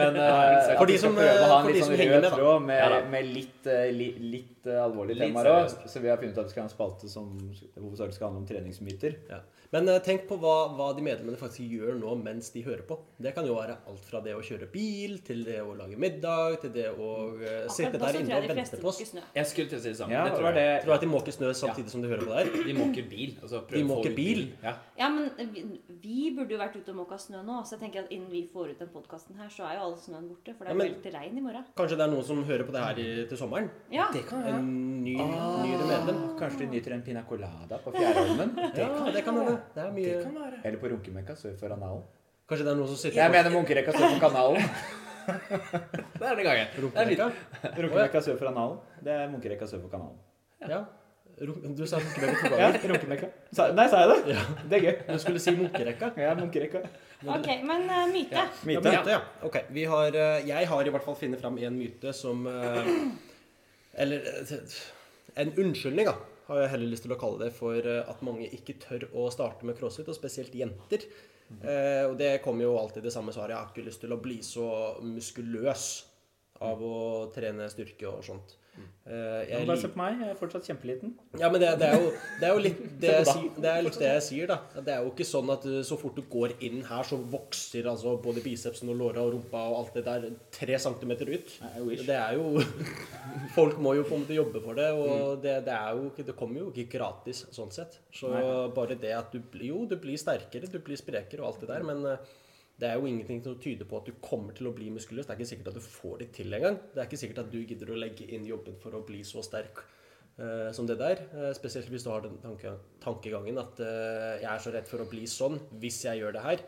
C: Men eh,
A: For
C: at
B: de
C: vi skal
B: som,
C: prøve å ha
B: eh,
C: en
B: for
C: litt
B: de som
C: sånn
B: henger
C: rød
B: med, da.
C: tråd med,
A: Ja, da.
C: med litt, eh, li, litt eh, alvorlige
A: Litt
C: temaer òg.
A: seriøst.
C: Så vi har funnet ut at vi skal ha en spalte som hovedsakelig skal handle om treningsmyter.
B: Ja. Men eh, tenk på hva, hva de medlemmene faktisk gjør nå mens de hører på. Det kan jo være alt fra det å kjøre bil, til det å lage middag, til det å eh, sitte
D: Akkurat
B: der
D: nå så tror
B: inne og
D: jeg de
B: vente
D: fleste
B: på oss.
D: måker snø.
A: sånn- Jeg skulle til å si det samme.
C: Ja,
A: det
C: hva
A: tror
C: er det?
A: jeg.
B: Tror du at de måker snø samtidig som de hører på det her?
A: De måker bil. Altså, prøver
B: De
A: å få
B: måker
A: ut
B: bil?
A: bilen. Ja.
D: Ja, men eh, vi, vi burde jo vært ute og måka snø nå, så jeg tenker at innen vi får ut den podkasten her, så er jo all snøen borte, for det
B: Ja,
D: er
B: men-
D: veldig regn i morgen.
B: Kanskje det er noen som hører på det her i, til sommeren?
D: Ja, Ah.
A: Det kan
B: En
A: hende.
B: ny, nyere medlem?
C: Kanskje de nyter en pina colada på fjærholmen?
B: Ja, det kan hende. Det er
A: Det
B: mye
A: kan være.
C: Eller på runkemekka sør for analen?
B: Kanskje det er noen som sitter
C: Jeg mener munkerekka sør for kanalen.
A: Det er den gangen.
B: på rumperekka?
C: Runkemekka sør for analen. Det er munkerekka sør for kanalen.
B: Ja. Rum- Du sa runkemekka to
C: Ja,
B: ganger.
C: runkemekka. Sa- Nei, sa jeg det? Det er gøy.
B: Du skulle si munkerekka.
C: Ja, munkerekka.
D: ok, men eh, myte.
B: Ja,
C: Myte.
B: myte, ja. Ok, vi har, eh, jeg har i hvert fall funnet fram en myte som eh, Eller eh, en unnskyldning, da, har jeg heller lyst til å kalle det, for eh, at mange ikke tør å starte med crossfit, og spesielt jenter. Eh, og det kommer jo alltid det samme svaret. Jeg har ikke lyst til å bli så muskuløs av å trene styrke og sånt. Eh, jeg
C: Mm. Bare
B: liker-
C: se på meg, jeg er fortsatt kjempeliten.
B: Ja, men det, det, er jo, det er jo litt det jeg,
C: da.
B: sier- det, er litt det jeg sier, da. At Det er jo ikke sånn at uh, så fort du går inn her, så vokser altså både bicepsen og låra og rumpa og alt det der tre centimeter ut.
C: I wish.
B: Det er jo Folk må jo på en måte jobbe for det, og det, det er jo ikke Det kommer jo ikke gratis sånn sett. Så bare det at du blir Jo, du blir sterkere, du blir sprekere og alt det der, men uh, det er jo ingenting som tyder på at du kommer til å bli muskuløs. Det er ikke sikkert at du får det til engang. Det er ikke sikkert at du gidder å legge inn jobben for å bli så sterk eh, som det der. Eh, spesielt hvis du har den tanke, tankegangen at eh, jeg er så redd for å bli sånn hvis jeg gjør det her.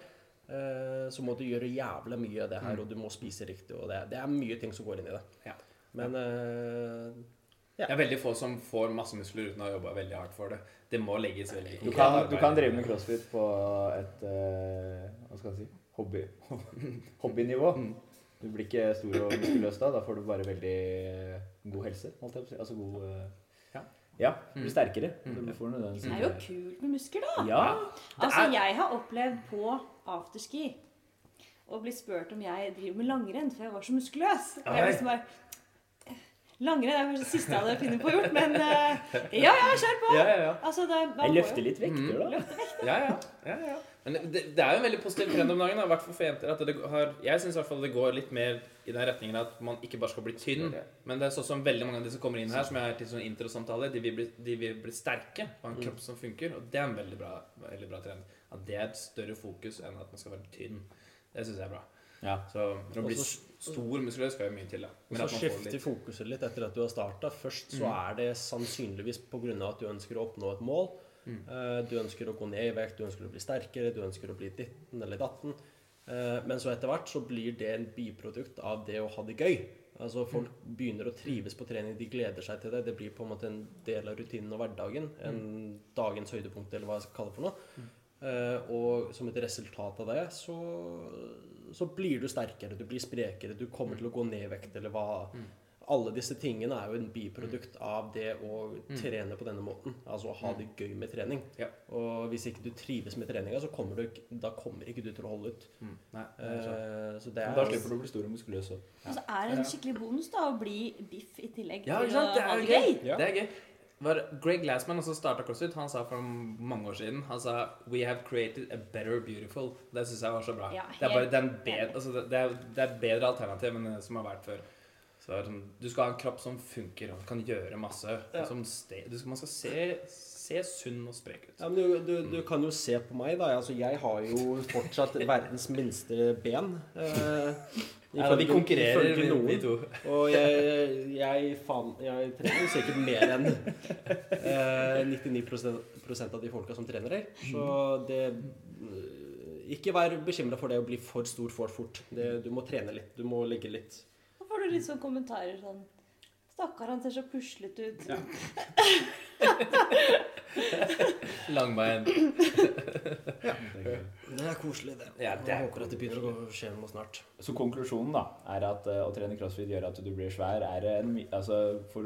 B: eh, så må du gjøre jævla mye av det her, og du må spise riktig. Og det, det er mye ting som går inn i det.
A: Ja.
B: Men eh,
A: Det er veldig få som får masse muskler uten å ha jobba veldig hardt for det. Det må legges veldig
C: Du kan, du kan drive med crossfit på et eh, Hva skal jeg si hobby, hobbynivå. Du blir ikke stor og muskuløs da. Da får du bare veldig eh, god helse. Holdt jeg på å si. Altså god eh,
A: Ja.
C: Ja, Mm. du blir sterkere. Du får nødvendigvis
D: Det er jo kult med muskler, da.
C: Ja.
D: Altså, jeg har opplevd på afterski å bli spurt om jeg driver med langrenn, for jeg var så muskuløs. Og jeg
A: Oi.
D: liksom bare Langrenn er kanskje det siste jeg hadde funnet på å gjort, men eh, ja, ja, kjør på!
C: Ja, ja, ja.
D: Altså, det, man
C: Jeg
D: må jo-
C: løfter litt vekter, da.
A: Ja, ja. ja, ja. Men det, det er jo en veldig positiv trend om dagen. da, I hvert fall for jenter. At det har, jeg syns i hvert fall det går litt mer i den retningen at man ikke bare skal bli tynn. Men det er sånn som veldig mange av de som kommer inn her, som jeg har til sånn introsamtale, de vil bli, de vil bli sterke og ha en kropp som funker. Og det er en veldig bra, veldig bra trend. At det er et større fokus enn at man skal være tynn. Det syns jeg er bra.
C: Ja.
A: Så når du blir
B: Også-
A: stor muskuløs, skal jo mye til, da.
B: Og
A: Men
B: så
A: at man får
B: skifter
A: litt Mm.
B: fokuset litt etter at du har starta. Først så er det sannsynligvis pga. at du ønsker å oppnå et mål.
A: Mm.
B: Eh, Du ønsker å gå ned i vekt, du ønsker å bli sterkere, du ønsker å bli ditten eller datten. Eh, Men så etter hvert så blir det en biprodukt av det å ha det gøy. Altså
A: Mm.
B: Folk begynner å trives på trening, de gleder seg til det. Det blir på en måte en del av rutinen og hverdagen. En
A: Mm.
B: dagens høydepunkt, eller hva jeg skal kalle det for noe. Eh, og som et resultat av det, så, så blir du sterkere, du blir sprekere, du kommer til å gå ned i vekt, eller hva Alle disse tingene er jo en biprodukt av det å trene på denne måten. Altså å ha det gøy med trening.
A: Ja.
B: Og hvis ikke du trives med treninga, så kommer du ikke, da kommer ikke du til å holde ut.
A: mm, Nei.
B: Eh, så det
C: Men
B: er
C: Da slipper du å bli stor og muskuløs òg.
D: Og så er det en skikkelig bonus da, å bli biff i tillegg
A: Ja, ikke
D: til å
A: sant? Det
D: ha
A: er
D: det
A: gøy.
D: gøy.
B: Ja.
A: Det er gøy. Var Greg Glassman som starta CrossFit, han sa for mange år siden Han sa 'We have created a better beautiful'. Det syns jeg var så bra.
D: Ja,
A: det, er bare,
D: helt
A: det, er en bedre,
D: enig.
A: altså, det, det er, det er et bedre alternativ enn det som har vært før. Så det er sånn, du skal ha en kropp som funker, og kan gjøre masse. og Som ste, du skal, man skal se, se sunn og sprek ut.
B: Ja, men du, du, du kan jo se på meg, da. Altså, jeg har jo fortsatt verdens minste ben. Eh,
A: Nei, da, vi konkurrerer,
B: ifølge
A: vi, vi
B: noen.
A: to.
B: Og jeg, jeg, faen, jeg trener jo sikkert mer enn eh, 99 av de folka som trener her. Så det eh, Ikke vær bekymra for det å bli for stor for fort. Det, du må trene litt. Du må ligge litt.
D: Da får du litt sånn kommentarer sånn Stakkar, han ser så puslete ut.
A: Langbein.
B: Det er koselig, det.
A: Ja, det er
B: jeg håper at det begynner å gå- skje noe snart.
C: Så konklusjonen da, er at eh, å trene crossfit gjør at du blir svær, er en, my- altså, for,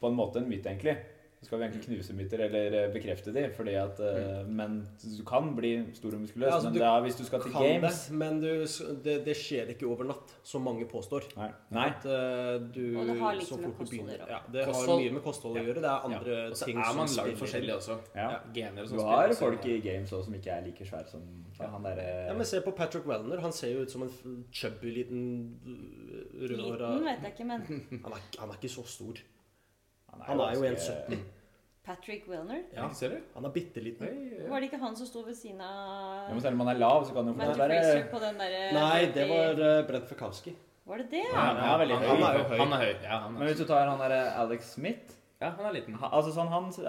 C: på en måte en myte, egentlig. Så skal vi egentlig knuse myter eller eh, bekrefte de, fordi at, eh, men du kan bli stor og muskuløs,
B: Mm. Ja, altså,
C: men
B: du
C: det er hvis du skal til
B: Kan det,
C: games.
B: men du, det, det skjer ikke over natt, som mange påstår.
C: Nei. Nei.
B: At eh, du
D: Og det har litt
B: så fort du
D: med kosthold å
B: begynner-
D: gjøre.
B: Ja, det har
A: Kosthold.
B: mye med kosthold å gjøre. Det er andre
A: Og så
B: ting
A: er man
B: som
A: lagd
B: spiller
A: forskjellig også.
C: Ja.
A: Gener og
C: Du
A: sånt
C: har
A: spiller også.
C: folk i games også som ikke er like svære som ja, han eh, derre
B: Ja, men Se på Patrick Wellner. Han ser jo ut som en f- chubby liten øh, rødhåra
D: Liten vet jeg ikke, men
B: han, er ikke- han er ikke så stor.
C: Han
B: Han er jo
C: ganske-
B: 1,70.
D: Patrick Wilner
A: Ja, ser du?
B: Han er bitte liten.
D: Var det ikke han som sto ved siden
C: Ja, men
D: av
C: selv om han er lav, så kan han jo
D: Matthew
C: fortsatt være
D: Fraser på den eh, derre
B: Nei, det var øh, Brent Fakowski.
D: Var det det?
A: Ja,
D: Ja.
C: han er veldig høy.
A: Han er jo høy. Han er høy. Ja, han
C: Men
A: er,
C: hvis du tar han derre Alex Smith
A: ja, han er liten.
C: han, Altså sånn, han ser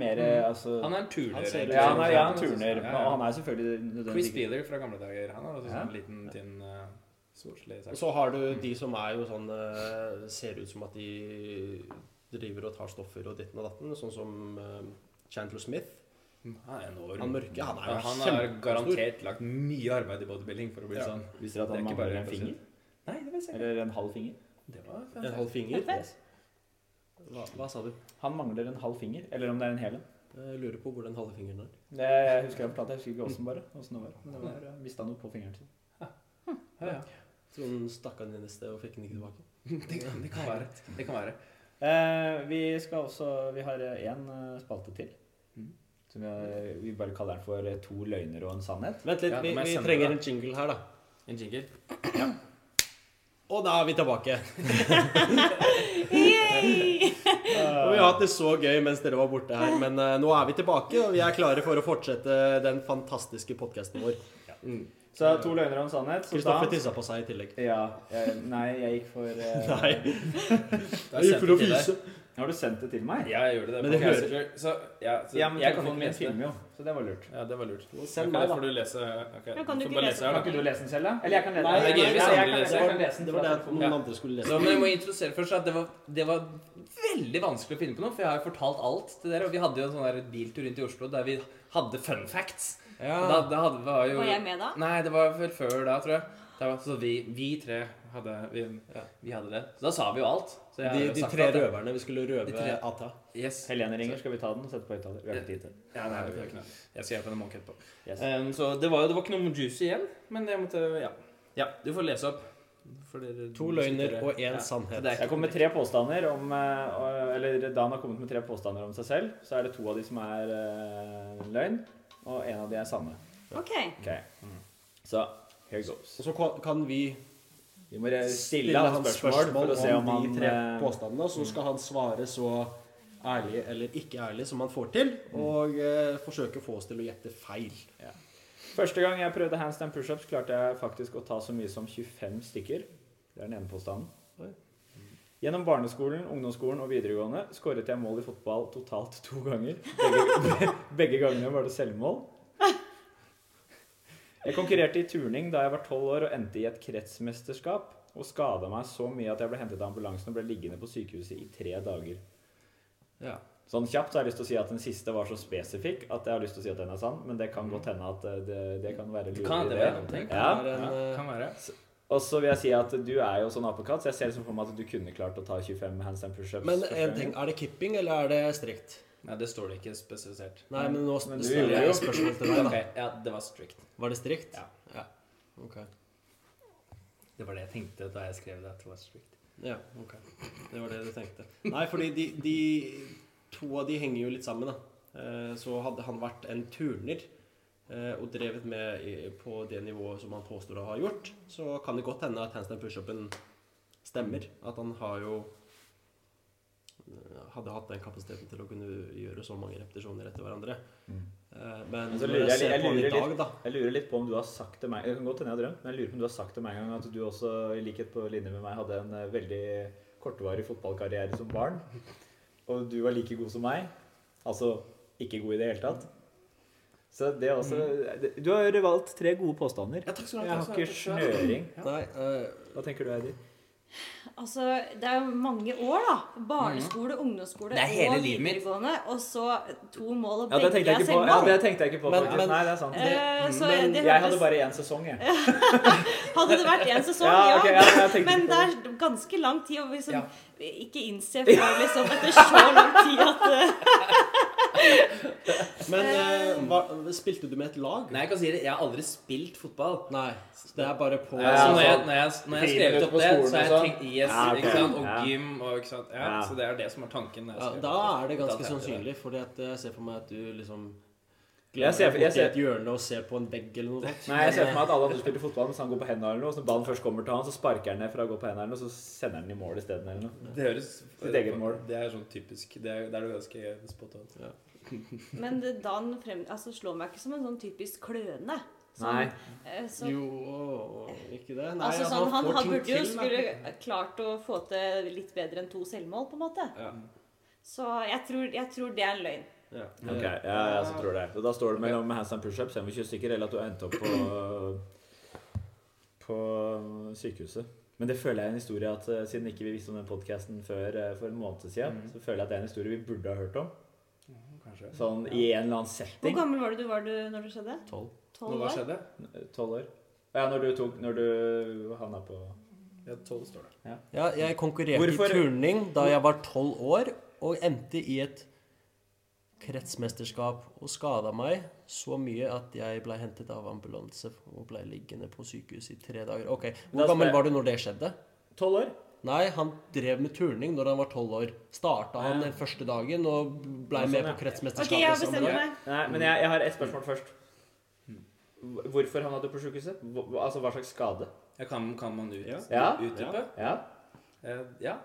C: mer altså,
A: Han er en turner.
B: Mm. Han ser sånn
A: egentlig.
C: Ja, han er, ja, han turner.
A: Ja,
C: Og
A: ja.
C: han er selvfølgelig nødvendig-
A: Chris Beeler fra gamle dager. Han er også
C: Ja.
A: sånn liten, tynn uh, Sportslig
B: Og
A: sak.
B: så har du de som er jo sånn øh, Ser ut som at de driver og tar stoffer og ditten og datten. Sånn som øh, Chandler Smith.
A: Han er enorm.
B: Han mørke. Han er
A: Ja,
B: jo
A: han har
B: kjempestor.
A: garantert lagt mye arbeid i bodybuilding for å bli
B: Ja.
A: sånn.
C: Visste dere at
A: Det er
C: han
A: ikke
C: mangler
A: bare
C: en finger?
A: Nei, det vil jeg si.
C: Eller en halv finger?
A: Det var
B: En halv finger.
C: Yes.
B: Hva, hva sa du?
C: Han mangler en halv finger. Eller om det er en hel en.
B: Jeg lurer på hvor den halve fingeren er.
C: Det jeg husker jeg fortalte, jeg husker ikke åssen bare. Hvordan det var. Men det var eh, mista noe på fingeren sin. Hm.
A: Ja, ja.
B: Tror hun stakk han inn i sted og fikk den ikke tilbake.
A: Det, det kan være. Det kan være.
C: Eh, vi skal også Vi har én spalte til. Hm.
A: Mhm.
C: Som vi, har, vi bare kaller den for eh, To løgner og en sannhet.
B: Vent litt,
A: Ja, nå
B: vi,
A: må jeg
B: vi
A: sende det,
B: trenger
A: da.
B: en jingle her, da.
A: En jingle.
B: Og da er vi tilbake.
D: Yay!
B: Og vi har hatt det så gøy mens dere var borte her, men eh, nå er vi tilbake, og vi er klare for å fortsette den fantastiske podkasten vår.
A: Mm.
C: Så to løgner og en sannhet. så da-
B: Kristoffer tissa på seg i tillegg.
C: Ja. eh, nei, jeg gikk for eh,
B: Nei,
A: Da har jeg sendt det til deg.
C: Har du sendt det til meg?
A: Ja, jeg gjorde det.
B: Men det
A: på
B: hører-
A: Messenger. Så, ja, så
C: Ja, men
A: jeg kan ikke
C: telefonen min
A: lese det.
C: filmer jo, så det var lurt.
A: Ja, det var lurt.
B: Send
A: Ok,
B: meg, da.
A: får du lese. ok.
D: Nå kan du
A: får
D: ikke
A: bare
D: lese
A: da.
D: den.
C: Kan ikke du lese den selv, da? Eller jeg kan lese
B: Nei,
A: det er gøy hvis
C: jeg
A: andre
C: kan-
A: leser.
C: jeg kan lese den.
B: det var det at
C: fra telefonen.
B: noen andre skulle
A: Ja,
B: lese.
A: men jeg må introdusere først at det var, det var veldig vanskelig å finne på noe, for jeg har jo fortalt alt til dere. Og vi hadde jo en sånn der biltur rundt i Oslo der vi hadde fun facts.
B: Ah.
A: Og Da, da hadde, var, jo,
D: Var jeg med da?
A: Nei, det var vel før da, tror jeg. Da var, så vi, vi tre hadde, vi,
B: Ja.
A: vi hadde det. Så da sa vi jo alt. Så jeg har
B: De,
A: jo
B: de
A: sagt
B: tre
A: alt, jeg.
B: røverne vi skulle
A: De
B: røve
A: tre-
B: Ata.
A: Yes.
C: Helene ringer, skal vi ta den og sette på høyttaler? Vi har ikke tid til det.
A: Ja, nei, det var ikke noe. Jeg skal hjelpe henne med å monke etterpå.
C: Yes.
A: Um, så det var, jo- det var ikke noe juicy igjen, men jeg måtte Ja. ja du får lese opp. For dere-
B: To løgner og
A: Ja.
B: én
A: Så det
B: sannhet.
A: er
C: Jeg kom med tre påstander om eh, og- Eller Dan har kommet med tre påstander om seg selv. Så er det to av de som er eh, løgn, og en av de er sanne.
D: OK.
C: Ok. Så here goes.
B: Og så kan- kan
A: Eh,
B: vi
C: Vi må re- stille
B: stille
C: han
B: hans
C: spørsmål for å se om
B: om
C: han
B: de tre
C: eh,
B: påstandene, og
A: mm.
B: så skal han svare så ærlig eller ikke ærlig som han får til,
A: Mm.
B: og eh, forsøke å få oss til å gjette feil.
C: Første gang jeg prøvde handstand pushups, klarte jeg faktisk å ta så mye som 25 stykker. Det er den ene påstanden. Gjennom barneskolen, ungdomsskolen og videregående skåret jeg mål i fotball totalt to ganger. Begge, begge gangene var det selvmål. Jeg konkurrerte i turning da jeg var tolv år og endte i et kretsmesterskap. Og skada meg så mye at jeg ble hentet av ambulansen og ble liggende på sykehuset i tre dager.
A: Ja.
C: Sånn kjapt så har jeg lyst til å si at den siste var så spesifikk at jeg har lyst til å si at den er sann, men det kan godt hende at eh, det, det kan være
A: Det kan
C: lurer i
A: det være noen ting.
C: Ja.
B: Det er en,
A: Ja,
B: eh,
A: kan være.
C: Og så vil jeg si at du er jo sånn apekatt, så jeg ser liksom for meg at du kunne klart å ta 25 handstand pushups.
B: Men
C: første
B: en
C: gangen.
B: ting, er det kipping, eller er det strikt?
A: Nei, det står det ikke spesifisert.
B: Nei, men nå
C: Men du
B: stiller
C: gjorde
B: jeg
C: jo-
B: et spørsmål til deg,
A: Ok,
B: da.
A: ja, det var strict.
B: Var det strikt?
A: Ja.
B: ja. Ok.
A: Det var det jeg tenkte da jeg skrev det. at det var strict.
B: Ja, ok. Det var det du tenkte. Nei, fordi de, de to av de henger jo litt sammen, da. Eh, Så hadde han vært en turner eh, og drevet med i- på det nivået som han påstår å ha gjort, så kan det godt hende at handstand pushupen stemmer. At han har jo eh, hadde hatt den kapasiteten til å kunne gjøre så mange repetisjoner etter hverandre. Eh, Men
C: Men så
B: når
C: lurer
B: jeg
C: jeg,
B: ser
C: jeg,
B: på den i
C: lurer
B: dag,
C: litt,
B: da
C: jeg lurer litt på om du har sagt til meg Jeg kan godt hende jeg har drømt, men jeg lurer på om du har sagt til meg en gang at du også, i likhet på linje med meg, hadde en eh, veldig kortvarig fotballkarriere som barn. Og du var like god som meg. Altså ikke god i det hele tatt. Så det er også det- Mm. Du har valgt tre gode påstander.
A: Ja, takk skal du ha,
C: Jeg har
A: takk skal du
C: ikke
A: ha.
C: snøring.
B: Nei, eh,
C: Hva tenker du, Heidi?
D: Altså, det er jo mange år, da. Barneskole, ungdomsskole
A: Det er hele
D: og
A: livet mitt.
D: videregående. Og så to mål, og
C: Ja, det
D: begge
C: tenkte jeg
D: er
C: ikke på. Ja,
D: selvmål.
C: det tenkte jeg ikke på
B: Men-
C: faktisk.
B: men-
C: Nei, det er sant.
D: Eh, så
B: Men
D: det
C: Jeg hadde
D: hørtes-
C: bare én sesong, jeg.
D: Hadde det vært én sesong,
C: Ja,
D: ja.
C: ok, ja, jeg tenkte
D: men
C: på
D: det er ganske lang tid å liksom,
A: Ja.
D: ikke innse før liksom, etter så lang tid at eh,
B: Men eh, hva, spilte du med et lag?
A: Nei, jeg kan si det. Jeg har aldri spilt fotball.
B: Nei, det er bare på
A: Så
C: Ja,
A: når jeg,
C: sånn.
A: når jeg, når jeg
C: Fire
A: skrev
C: minutter
A: opp
C: på
A: det, så har jeg
C: skolen og
A: tenkt yes,
C: Ja, ok.
A: ikke sant? og
C: Ja.
A: gym og ikke sant? Ja,
C: Ja.
A: Så det er det som er tanken. når jeg
B: ja,
A: skrev
B: Da
A: opp det.
B: er det
A: Da
B: ganske
A: tenkte jeg
B: sannsynlig, fordi at jeg ser for meg at du liksom
C: Jeg
B: glemmer
C: ser-
B: deg
C: jeg
B: borti
C: ser-
B: et hjørne og ser på en vegg eller noe sånt.
C: Nei, jeg ser for meg at alle andre spiller fotball mens han går på hendene eller noe. Så når ballen først kommer til han, så sparker han ned for å gå på hendene, og så sender han den i mål isteden eller noe.
A: Det høres
C: Sitt eget mål.
A: Det er sånn typisk. Det er, det er du ganske spot on.
D: eh, Men det- Dan frem, altså, slår meg ikke som en sånn typisk kløne. Som,
C: Nei.
D: eh, så,
B: Jo, ikke det? Nei,
D: altså, sånn, han,
B: får
D: han
B: ting
D: burde jo
B: til, da.
D: skulle klart å få til litt bedre enn to selvmål, på en måte.
B: Ja.
D: Så jeg tror, jeg tror det er en løgn.
B: Ja.
C: Ok, ja, jeg så tror det. Og da står det mellom handstand pushups, 25 stykker, eller at du har endt opp på, på sykehuset. Men det føler jeg er en historie at eh, siden ikke vi visste om den podkasten før eh, for en måned siden, så føler jeg at det er en historie vi burde ha hørt om.
A: Mm, Kanskje.
C: Sånn i en eller
D: Hvor
C: annen setting.
D: gammel var det du var du, når det skjedde?
B: Tolv.
A: Nå,
D: Tolv
A: hva
D: år?
A: skjedde?
C: Tolv år. Ja, når du tok Når du havna på
A: Ja, 12 står det.
B: Ja, jeg konkurrerte
C: Hvorfor-
B: i turning da jeg var tolv år, og endte i et kretsmesterskap og skada meg så mye at jeg ble hentet av ambulanse og ble liggende på sykehus i tre dager. Ok,
C: Da
B: Hvor
C: skal
B: gammel
C: jeg-
B: var du når det skjedde?
C: Tolv år?
B: Nei, han drev med turning når han var tolv år. Starta han
C: Ja.
B: den første dagen og blei
C: Ja, sånn,
B: med på
D: Ok, jeg
C: ja.
D: har
B: kretsmesterskapet.
D: bestemt
B: samme dag.
D: meg.
C: Nei, men jeg, jeg har ett spørsmål først. Hvor- Hvorfor han hadde på sjukehuset? Hva- Altså hva slags skade?
A: Ja, kan, kan man ut,
C: Ja.
A: utdype?
C: Ja.
A: Eh, Ja.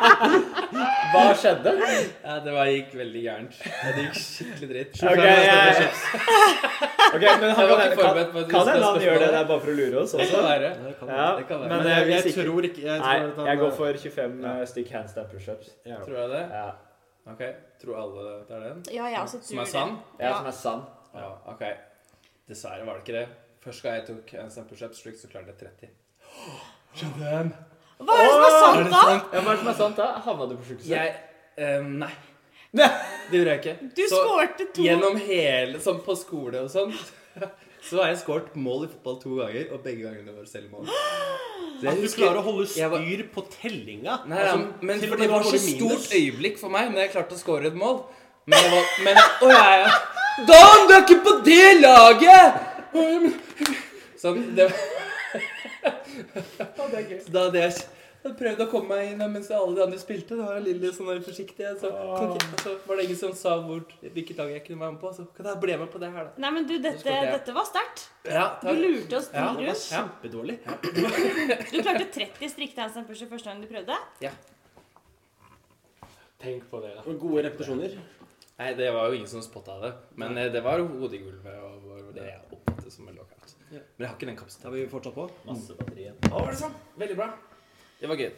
C: Hva skjedde?
A: ja. Det var, gikk veldig gærent. Ja, Det gikk skikkelig dritt.
C: Ok, jeg- Ok, men
A: Jeg var
C: han kan,
A: ikke
C: kan,
A: forberedt på at
C: kan
A: det
C: hende han
A: skulle
C: gjør det
A: spørsmål.
C: der bare for å lure oss
A: Det kan
C: også.
A: være.
B: Det kan
C: Ja,
A: Det kan være.
C: men
B: Men jeg,
C: jeg,
B: jeg
C: hvis ikke
B: tror ikke jeg tror
C: Nei,
B: at han-
C: jeg går for 25
A: Ja.
C: eh, stykk handstand pushups.
B: ja.
A: Tror jeg det?
C: Ja.
A: Ok. Tror alle det er den?
D: Ja, jeg også tror
A: Som er
D: det.
A: sann?
C: ja, som er sann.
A: Ja, ok. Dessverre var det ikke det. Første gang jeg tok en stand push-up streak, så klarte jeg 30.
D: Hva er det som er sant, da?
C: Ja, Hva er det som er sant da? Havna du på sjukehuset?
A: Jeg eh, Nei. Det gjorde jeg ikke.
D: Du skårte to
A: gjennom hele Sånn på skole og sånn. Så har jeg skåret mål i fotball to ganger, og begge gangene var selvmål. Så jeg
B: At du
A: husker-
B: klarer å holde
A: jeg var-
B: styr på tellinga.
A: Nei, ja,
B: altså,
A: men
B: til og
A: for
B: med
A: det var
B: når
A: så
B: det er minus.
A: stort øyeblikk for meg når jeg klarte å skåre et mål. Men jeg var men jeg, å, ja, ja. Dan, du er ikke på det laget! Sånn, det var Så da hadde jeg jeg prøvde å komme meg inn mens alle de andre spilte. Da var jeg litt sånn der forsiktig. Så, kan ikke- så var det ingen som sa hvor, hvilket lag jeg kunne være med på. Så kan jeg bli med på det her, da.
D: Nei, men du, dette,
A: skårte jeg.
D: dette var sterkt.
A: Ja,
D: Du lurte oss
A: Ja,
D: til rus.
A: ja.
B: Kjempedårlig.
D: Du klarte 30 strikte handstand push første gang du prøvde.
A: Tenk på det, da.
B: Og Gode repetisjoner.
A: Nei, det var jo ingen som spotta det. Men eh, det var hodet i gulvet og var det jeg oppfattet som en lockout.
B: Ja.
A: Men jeg har ikke den
B: Da
A: kapasiteten.
B: er vi fortsatt på.
C: Masse batteri igjen.
A: Å, var det sånn? Veldig bra. Det var gøy.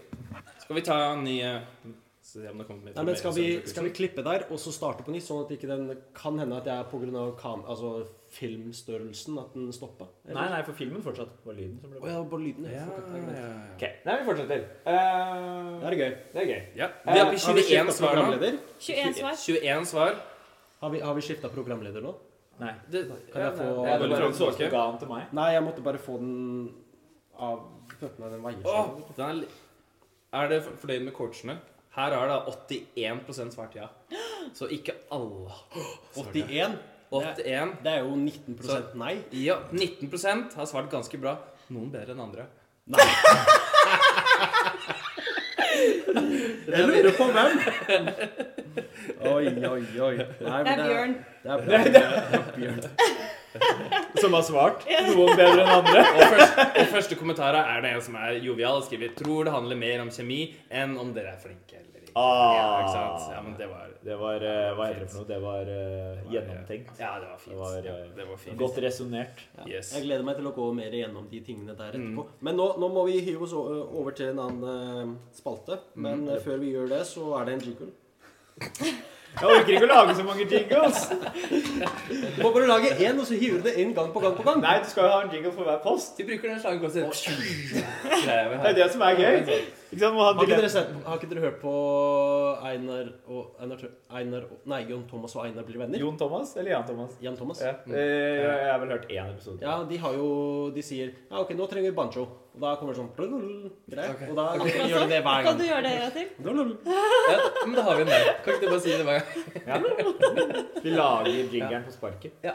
A: Skal vi ta en ny eh, Se om det kommer mer
B: Nei, men skal vi,
A: informasjon.
B: skal vi klippe der og så starte på nytt, sånn at ikke den kan hende at jeg pga. Kam, altså filmstørrelsen at den stoppa?
C: Nei, nei, for filmen fortsatt. Det var lyden som ble
B: Å ja, bare lyden.
A: Ja,
B: Ja. fuck, det er greit.
A: ja,
C: Ok, Nei, vi fortsetter. Eh,
B: Da er det gøy. Eh,
C: det er gøy.
A: ja. ja. Vi Eh,
B: Har
A: har
B: vi
A: på
B: skiftet
A: 21 svar nå.
B: programleder?
D: 21 svar.
A: 21 svar.
B: Har vi, har vi skifta programleder nå?
C: Nei.
A: Det,
B: Kan jeg få-
C: Det
A: ja, det
C: er bare en
A: var
C: såpe ga han til meg.
B: Nei, jeg måtte bare få den av føttene. Den veier
A: Åh,
B: seg.
A: den er, li- er det for- fornøyd med coachene? Her er det 81 svart ja. Så ikke alle.
B: 81. Det,
A: 81
B: det er jo 19 nei.
A: Ja, 19 har svart ganske bra. Noen bedre enn andre.
B: Nei.
A: Jeg lurer på hvem.
B: Oi, oi, oi. Nei, men
D: Det er Bjørn.
B: Det er Bjørn. Det er Bjørn.
C: Som har svart. Noen bedre enn andre.
A: Og første, og første kommentar er det en som er jovial og skriver tror det handler mer om kjemi enn om dere er flinke eller ikke.
C: Ah.
B: Ah.
A: Ja, ikke sant? Ja, men det var
C: Det var eh, Hva heter det for noe? Det var eh, gjennomtenkt.
A: Ja, det var fint.
C: Det var,
A: ja, det var fint.
C: Godt resonnert.
B: Ja.
A: Yes.
B: Jeg gleder meg til å gå mer gjennom de tingene der etterpå. Men nå, nå må vi hive oss o- over til en annen eh, spalte. Men eh, før vi gjør det, så er det en jingle.
C: Jeg orker ikke å lage så mange jingles!
B: Du må bare lage én, og så hiver du det inn gang på gang på gang.
C: Nei, du skal jo ha en jingle for hver post.
A: De bruker den slangen godt sett.
C: Det er det som er gøy. Ikke sant? Må ha
B: Har ikke,
C: dilemma.
B: dere sett, har ikke dere hørt på Einar og Einar, Tø- Einar og- Nei, Jon Thomas og Einar blir venner?
C: Jon Thomas eller Jan Thomas?
B: Jan Thomas?
C: Ja. Eh, Jeg har vel hørt én episode.
B: Ja, de har jo De sier Ja, ok, nå trenger vi banjo. Og da kommer det sånn Greit. Og da gjør de det hver
D: Kan du
B: gang.
D: gjøre det en gang til?
A: Ja, men da har vi den der. Kan ikke du bare si det hver gang?
C: Vi lager jingeren på sparket.
A: Ja.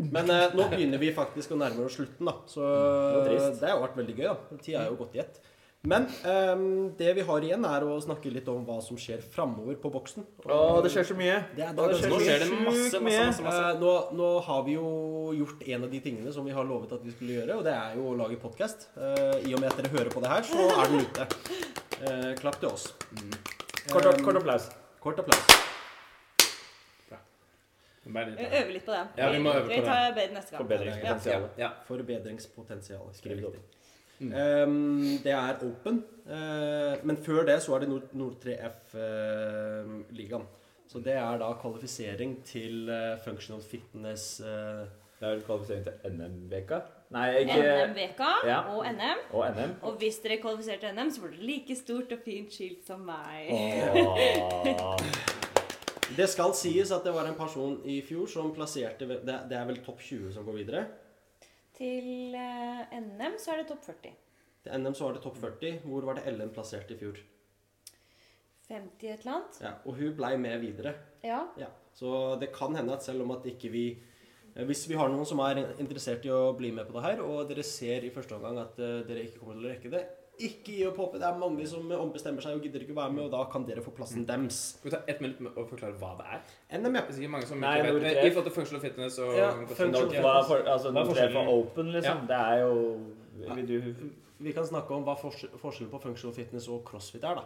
B: Men eh, nå begynner vi faktisk å nærme oss slutten, da. Så eh,
C: Det var
B: det,
C: trist.
B: har vært veldig gøy, da. Tida er jo gått i ett. Men ehm, det vi har igjen, er å snakke litt om hva som skjer framover på boksen.
C: Å, det skjer så mye.
B: Det er-
C: Å,
B: det er-
A: Nå
B: så
A: skjer det masse, masse, masse. masse.
B: Eh, nå, nå har vi jo gjort en av de tingene som vi har lovet at vi skulle gjøre, og det er jo å lage podkast. I og med at dere hører på det her, så er den ute. Eh, klapp til oss.
C: Kort, opp- Mm. Eh, kort applaus.
B: Kort applaus.
A: Bare litt
D: Jeg
A: der.
D: øver litt på det.
A: Ja, vi må øve på
D: Vi
A: det.
D: tar bedre neste gang.
A: Ja,
C: Forbedringspotensial.
A: ja.
B: Forbedringspotensial.
C: Skriv det opp. Mm.
B: Ehm, det er Open, eh, men før det så er det Nord- Nord3F-ligaen. så det er da kvalifisering til eh, Functional Fitness eh,
C: Det er vel kvalifisering til NM-veka? Nei,
D: Ja.
C: ikke
D: NM-veka
C: Ja.
D: og NM.
C: Og NM.
D: Og hvis dere kvalifiserer til NM, så får dere like stort og fint skilt som meg.
C: Åh.
B: Det skal sies at det var en person i fjor som plasserte Det, det er vel topp 20 som går videre.
D: Til eh, NM så er det topp 40.
B: Til NM så var det topp 40. Hvor var det Ellen plassert i fjor?
D: 50 et eller annet.
B: Ja, og hun blei med videre.
D: Ja.
B: Ja. Så det kan hende at selv om at ikke vi eh, Hvis vi har noen som er interessert i å bli med på det her, og dere ser i første omgang at eh, dere ikke kommer til å rekke det, ikke gi opp håpet. Det er mange som ombestemmer seg og gidder ikke å være med, og da kan dere få plassen dems.
A: Skal vi ta ett minutt med å forklare hva det er?
B: NM,
A: Det er sikkert mange som
C: Nei,
A: ikke
C: Nord
A: vet men
C: tre.
A: I forhold til functional fitness og
B: Ja,
A: og-
B: functional
A: og-
C: Nå- Hva er for, altså,
A: Hva er
C: når det er for
A: forskjellen?
C: open, liksom? Det er jo Vil du
B: Vi kan snakke om hva fors- forskjellen på functional fitness og crossfit er, da.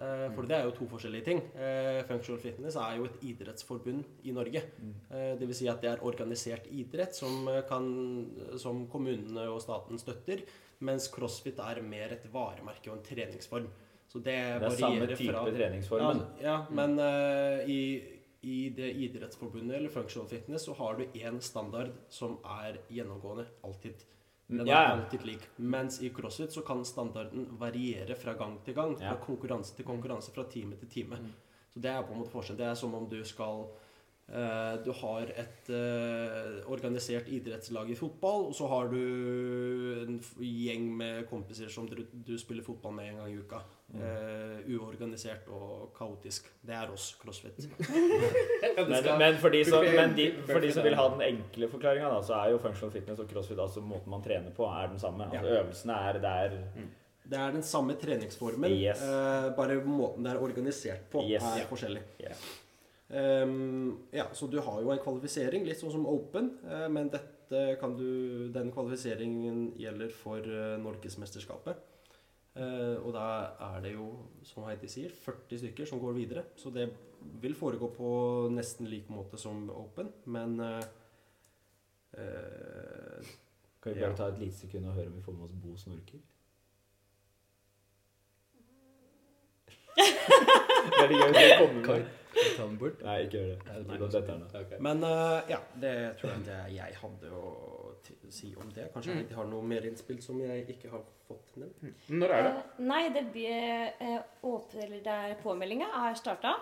B: Eh,
C: Mm.
B: For det er jo to forskjellige ting. Eh, Functional fitness er jo et idrettsforbund i Norge.
C: Mm.
B: Eh, Det vil si at det er organisert idrett som, eh, kan, som kommunene og staten støtter, mens crossfit er mer et varemerke og en treningsform. Så det,
C: Det er samme
B: varierer
C: type
B: fra
C: treningsform. men- Mm.
B: ja, ja, men eh, i, i det idrettsforbundet eller functional fitness så har du én standard som er gjennomgående alltid. Den
C: Ja, ja.
B: er alltid lik. Mens i crossfit så kan standarden variere fra gang til gang. Fra
C: Ja. Mm.
B: konkurranse til konkurranse, fra time til time. Så det er på en måte forskjell. Det er som om du skal eh, Du har et eh, organisert idrettslag i fotball, og så har du en f- gjeng med kompiser som du, du spiller fotball med en gang i uka.
C: Mm.
B: Eh, uorganisert og kaotisk. Det er oss, crossfit.
A: Ja, det
C: Men,
A: skal-
C: men, for de som, men de, for de som
A: Ja.
C: vil ha den enkle forklaringa, så er jo functional fitness og crossfit altså måten man trener på, er den samme. Altså, øvelsene er der.
B: Det er den samme treningsformen,
C: Yes.
B: eh, bare måten det er organisert på,
C: Yes.
B: er
C: Ja.
B: forskjellig.
C: Ja.
B: Ehm, ja, så du har jo en kvalifisering, litt sånn som Open, eh, men dette kan du, den kvalifiseringen gjelder for eh, Norgesmesterskapet. Eh, og da er det jo, som Heidi sier, 40 stykker som går videre. Så det vil foregå på nesten lik måte som Open, men eh, eh,
C: Kan vi
B: Ja.
C: bare ta et lite sekund og høre om vi får med oss Bo Snorker? Veldig gøy å komme med.
A: Ta den bort.
C: Nei, ikke gjør det.
A: Nei,
C: Ikke noe dette er noe.
A: Ok.
B: Men eh, ja, det tror jeg det jeg hadde å t si om det. Kanskje jeg ikke har noe mer innspill som jeg ikke har fått nevnt.
A: Når er det?
D: Eh, Nei, det blir eh, åp- eller der påmeldinga er starta.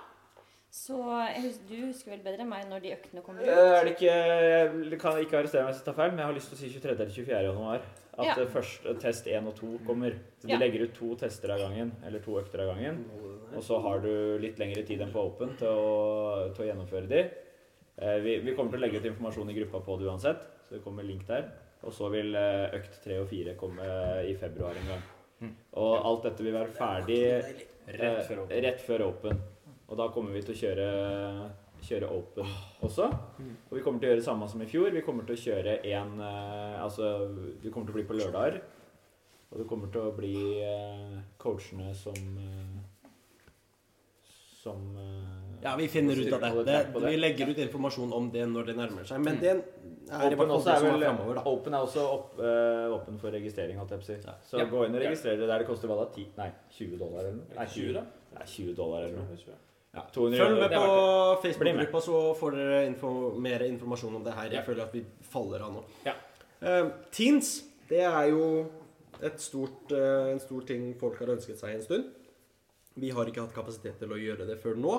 D: Så jeg husker, du husker vel bedre enn meg når de øktene kommer ut.
C: Eh, Er det ikke, jeg kan ikke arrestere meg hvis jeg tar feil, men jeg har lyst til å si 23. eller 24. januar. At
D: Ja.
C: eh, først eh, test 1 og 2 kommer. Så de
D: Ja.
C: legger ut to tester av gangen, eller to økter av gangen. Og så har du litt lengre tid enn på Open til å, til å gjennomføre de. Eh, Vi, vi kommer til å legge ut informasjon i gruppa på det uansett, så det kommer link der. Og så vil eh, økt 3 og 4 komme i februar en gang. Og alt dette vil være ferdig
A: Rett før
C: eh,
A: åpen.
C: rett før Open. Og da kommer vi til å kjøre, kjøre Open også. Og vi kommer til å gjøre det samme som i fjor. Vi kommer til å kjøre en eh, Altså, vi kommer til å bli på lørdager. Og det kommer til å bli eh, coachene som eh, som eh,
B: Ja, vi finner ut av det.
C: styrer
B: det.
C: på det. Mm.
B: Vi legger ut informasjon om det når det nærmer seg. Men det er i
C: Open,
B: hvert fall
C: også
B: det
C: er
B: som er
C: vel,
B: framover, da.
C: open er også opp, eh, åpen for registrering. holdt jeg på å si. Så
A: Ja.
C: gå inn og
A: Ja.
C: registrer det der det koster hva da? 10, nei, 20 dollar eller noe? Nei, 20,
A: da?
C: nei, 20 dollar eller noe. Ja, 200
B: Følg med
A: det er
B: på
C: Bli med.
B: Facebook-gruppa, så får dere info, mer informasjon om det her. Jeg
A: Ja.
B: føler at vi faller av nå.
A: Ja.
B: Eh, teens, det er jo et stort, eh, en stor ting folk har ønsket seg en stund. Vi har ikke hatt kapasitet til å gjøre det før nå.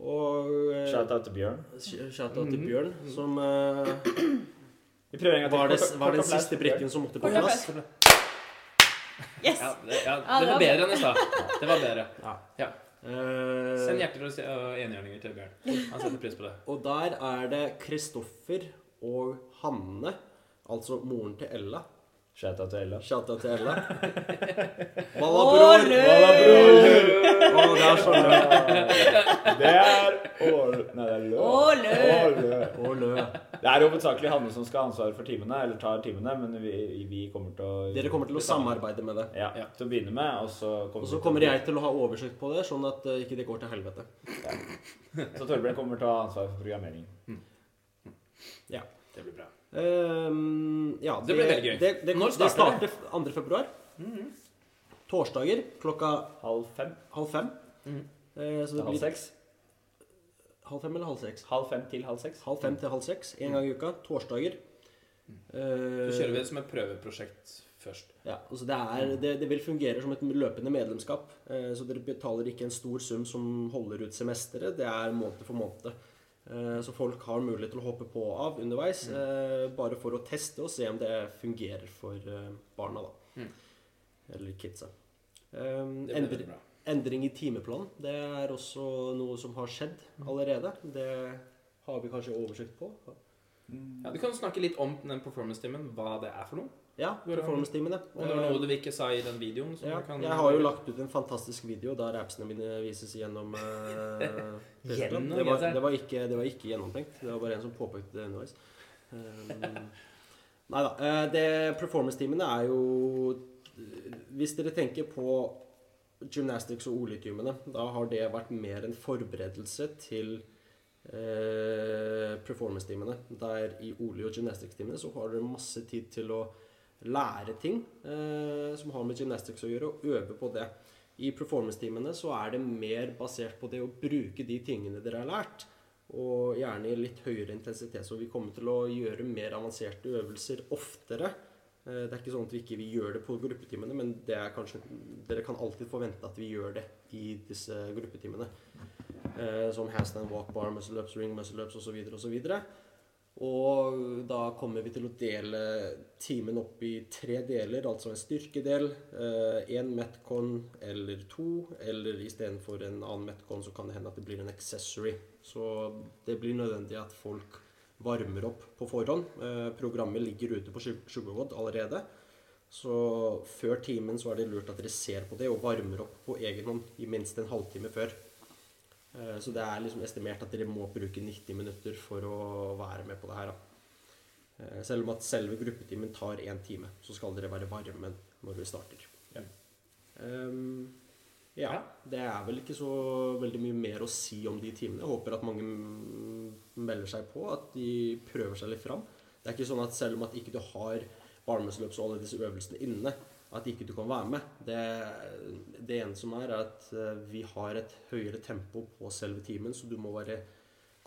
B: Og eh,
C: Shout-out til Bjørn.
B: sh- shout-out
C: Mhm.
B: til Bjørn, som eh,
C: Vi prøver en gang til.
B: var, det,
C: Kort-
B: var
C: kort
B: den
C: applaus
B: siste
C: til Bjørn.
B: brikken som måtte på
D: Kort applaus.
B: plass.
D: Yes!
A: Ja, det, ja,
D: Ja,
A: det
D: det
A: var
D: var
A: bedre enn i stad. Det var bedre. Ja.
B: Eh,
A: Send hjerter og se- og enhjørninger til Bjørn. Han setter pris på det.
B: Og der er det Kristoffer og Hanne, altså moren til Ella.
C: Shout-out til Ella.
B: Shata til Ella. Walla, bror!
D: Ålø!
B: Å, det er så lø.
C: Det er Ål... Nei, det er Lø.
D: Ålø!
C: Ålø.
B: Å, lø.
C: Det er jo hovedsakelig Hanne som skal ha ansvaret for timene, eller tar timene, men vi, vi kommer til å
B: Dere kommer til å samarbeide med det.
C: Ja,
A: Ja.
C: til å begynne med, og så
B: Og
C: kommer,
B: så kommer jeg til å ha oversikt på det, sånn at eh, ikke det går til helvete.
C: Så Torbjørn kommer til å ha ansvaret for programmeringen.
B: Ja.
A: Det blir bra.
B: Ehm, ja
A: Det blir veldig gøy.
B: Det, det,
A: Når
B: det
A: starter Mhm.
B: starter 2. februar. Torsdager klokka
C: Halv fem?
B: halv fem.
A: Mhm.
B: Eh, så
C: Til
B: det
C: halv
B: blir
C: seks?
B: halv fem eller halv seks?
C: Halv fem til halv seks?
B: Halv fem til halv seks, en gang i uka, torsdager. Eh,
A: Så kjører vi Mm. det som et prøveprosjekt først.
B: Ja, altså det, er, det, det vil fungere som et løpende medlemskap. Eh, så dere betaler ikke en stor sum som holder ut semesteret. Det er måned for måned. Eh, så folk har mulighet til å hoppe på og av underveis,
A: Mm.
B: eh, bare for å teste og se om det fungerer for eh, barna, da.
A: Mm.
B: Eller kidsa. Um,
A: Det blir veldig bra.
B: Endring i timeplan. Det er også noe som har skjedd allerede. Det har vi kanskje oversikt på.
A: Ja, du kan snakke litt om den performance-timen, hva det er for noe.
B: Ja, performance-timene.
A: Om det var noe du ikke sa i den videoen. som
B: Eh, Ja,
A: du kan...
B: jeg har jo lagt ut en fantastisk video der rapsene mine vises gjennom eh,
A: Gjennom
B: det, var,
A: genseren.
B: det, var ikke, det var ikke gjennomtenkt. Det var bare en som påpekte det underveis. Um, nei da. eh, det performance-teamene er jo Hvis dere tenker på gymnastics og oljetimene, da har det vært mer en forberedelse til eh, performance-timene. Der i olje- og gymnastics-timene så har dere masse tid til å lære ting eh, som har med gymnastics å gjøre, og øve på det. I performance-timene så er det mer basert på det å bruke de tingene dere har lært, og gjerne i litt høyere intensitet. Så vi kommer til å gjøre mer avanserte øvelser oftere. Eh, Det er ikke sånn at vi ikke vi gjør det på gruppetimene, men det er kanskje, dere kan alltid forvente at vi gjør det i disse gruppetimene. Eh, Som handstand, walk bar, muscle ups, ring muscle ups osv. videre og da kommer vi til å dele timen opp i tre deler, altså en styrkedel, én metcon eller to, eller istedenfor en annen metcon så kan det hende at det blir en accessory. Så det blir nødvendig at folk varmer opp på forhånd. Eh, Programmet ligger ute på Sug- Sugarwood allerede. Så før timen så er det lurt at dere ser på det og varmer opp på egen hånd i minst en halvtime før. Eh, Så det er liksom estimert at dere må bruke 90 minutter for å være med på det her. Da. Eh, Selv om at selve gruppetimen tar én time, så skal dere være varme når vi starter.
A: Ja.
B: Ehm, ja, det er vel ikke så veldig mye mer å si om de timene. Jeg håper at mange mm, melder seg på, at de prøver seg litt fram. Det er ikke sånn at selv om at ikke du har barmesløps og alle disse øvelsene inne, at ikke du kan være med. Det, det ene som er, er at eh, vi har et høyere tempo på selve timen, så du må være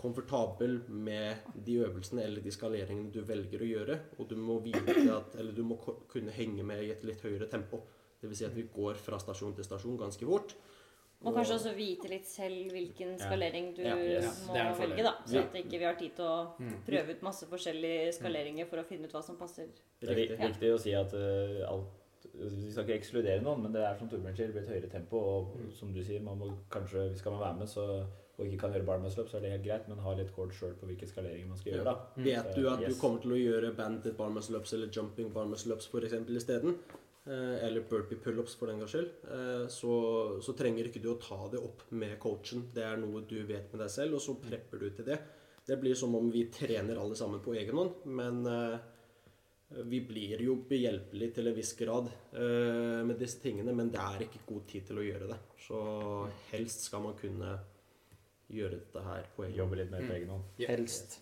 B: komfortabel med de øvelsene eller de skaleringene du velger å gjøre, og du må vite at Eller du må ko- kunne henge med i et litt høyere tempo. Det vil si at vi går fra stasjon til stasjon ganske fort.
D: Må
B: og-
D: kanskje også vite litt selv hvilken skalering du
C: Ja,
A: yes.
D: må
A: Det er Mm. en fordel.
D: velge, da. Så at ikke vi har tid til å prøve ut masse forskjellige skaleringer for å finne ut hva som passer.
C: Det er
B: Riktig.
C: vi- viktig å si at eh, alt vi skal ikke ekskludere noen, men det er som Torbjørn sier, det blir et høyere tempo. Og som du sier, man må kanskje, hvis skal man være med så, og ikke kan gjøre barmøssløp, så er det helt greit, men ha litt kort sjøl på hvilke skaleringer man skal gjøre, da.
B: Vet du at du
C: Yes.
B: kommer til å gjøre banded barmuscle-ups eller jumping barmuscle-ups f.eks. isteden, eh, eller burpee pull-ups for den gangs skyld, eh, så, så trenger ikke du å ta det opp med coachen. Det er noe du vet med deg selv, og så prepper du til det. Det blir som om vi trener alle sammen på egen hånd, men eh, Vi blir jo behjelpelig til en viss grad eh, med disse tingene, men det er ikke god tid til å gjøre det. Så helst skal man kunne gjøre dette her på egen
C: Jobbe litt mer på egen hånd.
B: Helst.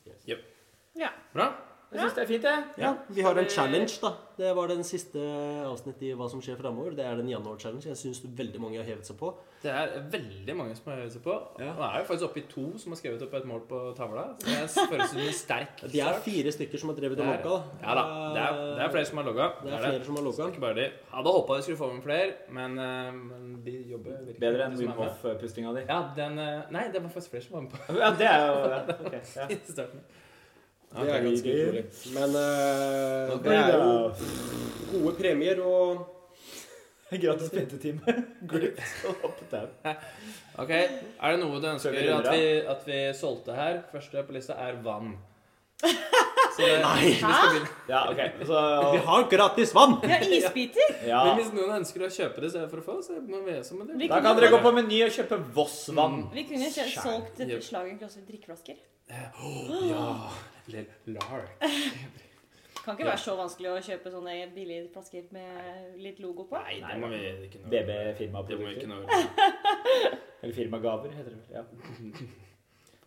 A: Ja. Bra.
C: Jeg syns det er fint, jeg.
B: Ja, vi har en challenge, da. Det var den siste avsnittet i Hva som skjer fremover. Det er den januar-challenge. Jeg syns veldig mange har hevet seg på.
A: Det er veldig mange som har øvd seg på.
B: Ja.
A: Nå er jo faktisk oppe i to som har skrevet opp et mål på tavla. Så det føles som en sterk
B: De er fire stykker som har drevet
A: Det
B: og
A: er-
B: logga.
A: Ja da. Det er, det er flere som har logga.
B: Det er flere som har logga.
A: Ikke bare de. Hadde håpa vi skulle få med flere, men, eh, men de jobber virkelig
C: Bedre enn
A: som er
C: Wim
A: med.
C: Hof-pustinga di.
A: Ja, den eh, Nei, det var faktisk flere som var med på
C: Ja, det er jo ja. ok, ja.
A: i starten.
B: Det er ganske utrolig. Men eh,
C: Ok,
B: det er jo
C: da.
B: gode premier og
C: Gratis PT-time. Glimt og opt-out.
A: Ok, Er det noe du ønsker
C: Skal vi runde
A: at vi, at vi solgte her? Første på lista er vann. Så det,
B: Nei!
A: Vi skal begynne.
C: Ja, OK. Så
B: Vi har gratis vann!
D: Vi har isbiter!
C: ja.
A: Men hvis noen ønsker å kjøpe det i stedet for å få, så må vi gjøre som med det.
D: Vi-
C: Da kan dere gå på Meny og kjøpe Voss-vann.
B: Mm.
D: Vi kunne jo kjøpt- solgt et
A: Yep.
D: slag en klasse drikkeflasker.
A: Ja. Eller lark.
D: Kan ikke være så vanskelig å kjøpe sånne billige flasker med litt logo på.
A: Nei, det må vi ikke nå. Det må vi ikke
C: DB-firmaprodukter.
A: nå.
C: Eller firmagaver, heter det vel. Ja.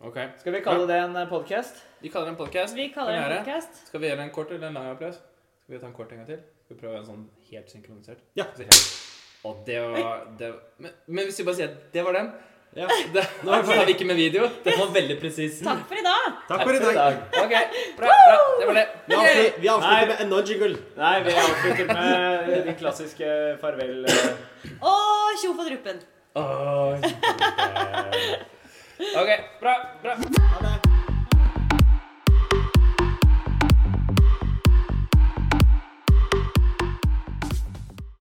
A: Ok.
C: Skal vi kalle det en eh, podkast?
A: Vi kaller det en podcast.
D: Vi kaller det en
A: Premiere.
D: podcast.
A: Skal vi gjøre en kort eller en lang applaus? Skal vi ta en kort en gang til? Skal vi prøve en sånn helt synkronisert?
B: Ja.
A: Så helt- Og det var det, men, men hvis vi bare sier at det var den
B: Ja.
A: det, Nå har vi ikke med video. Den var veldig presis.
D: Takk for i dag!
B: Takk for i dag.
A: Ok, bra, bra. Det var det.
B: Vi avslutter, vi
C: Nei.
B: avslutter med enda jingle.
C: Nei, vi avslutter med den klassiske farvel. eh,
D: Og tjo for druppen!
A: Oi. Ok, bra, bra.
B: Ha det.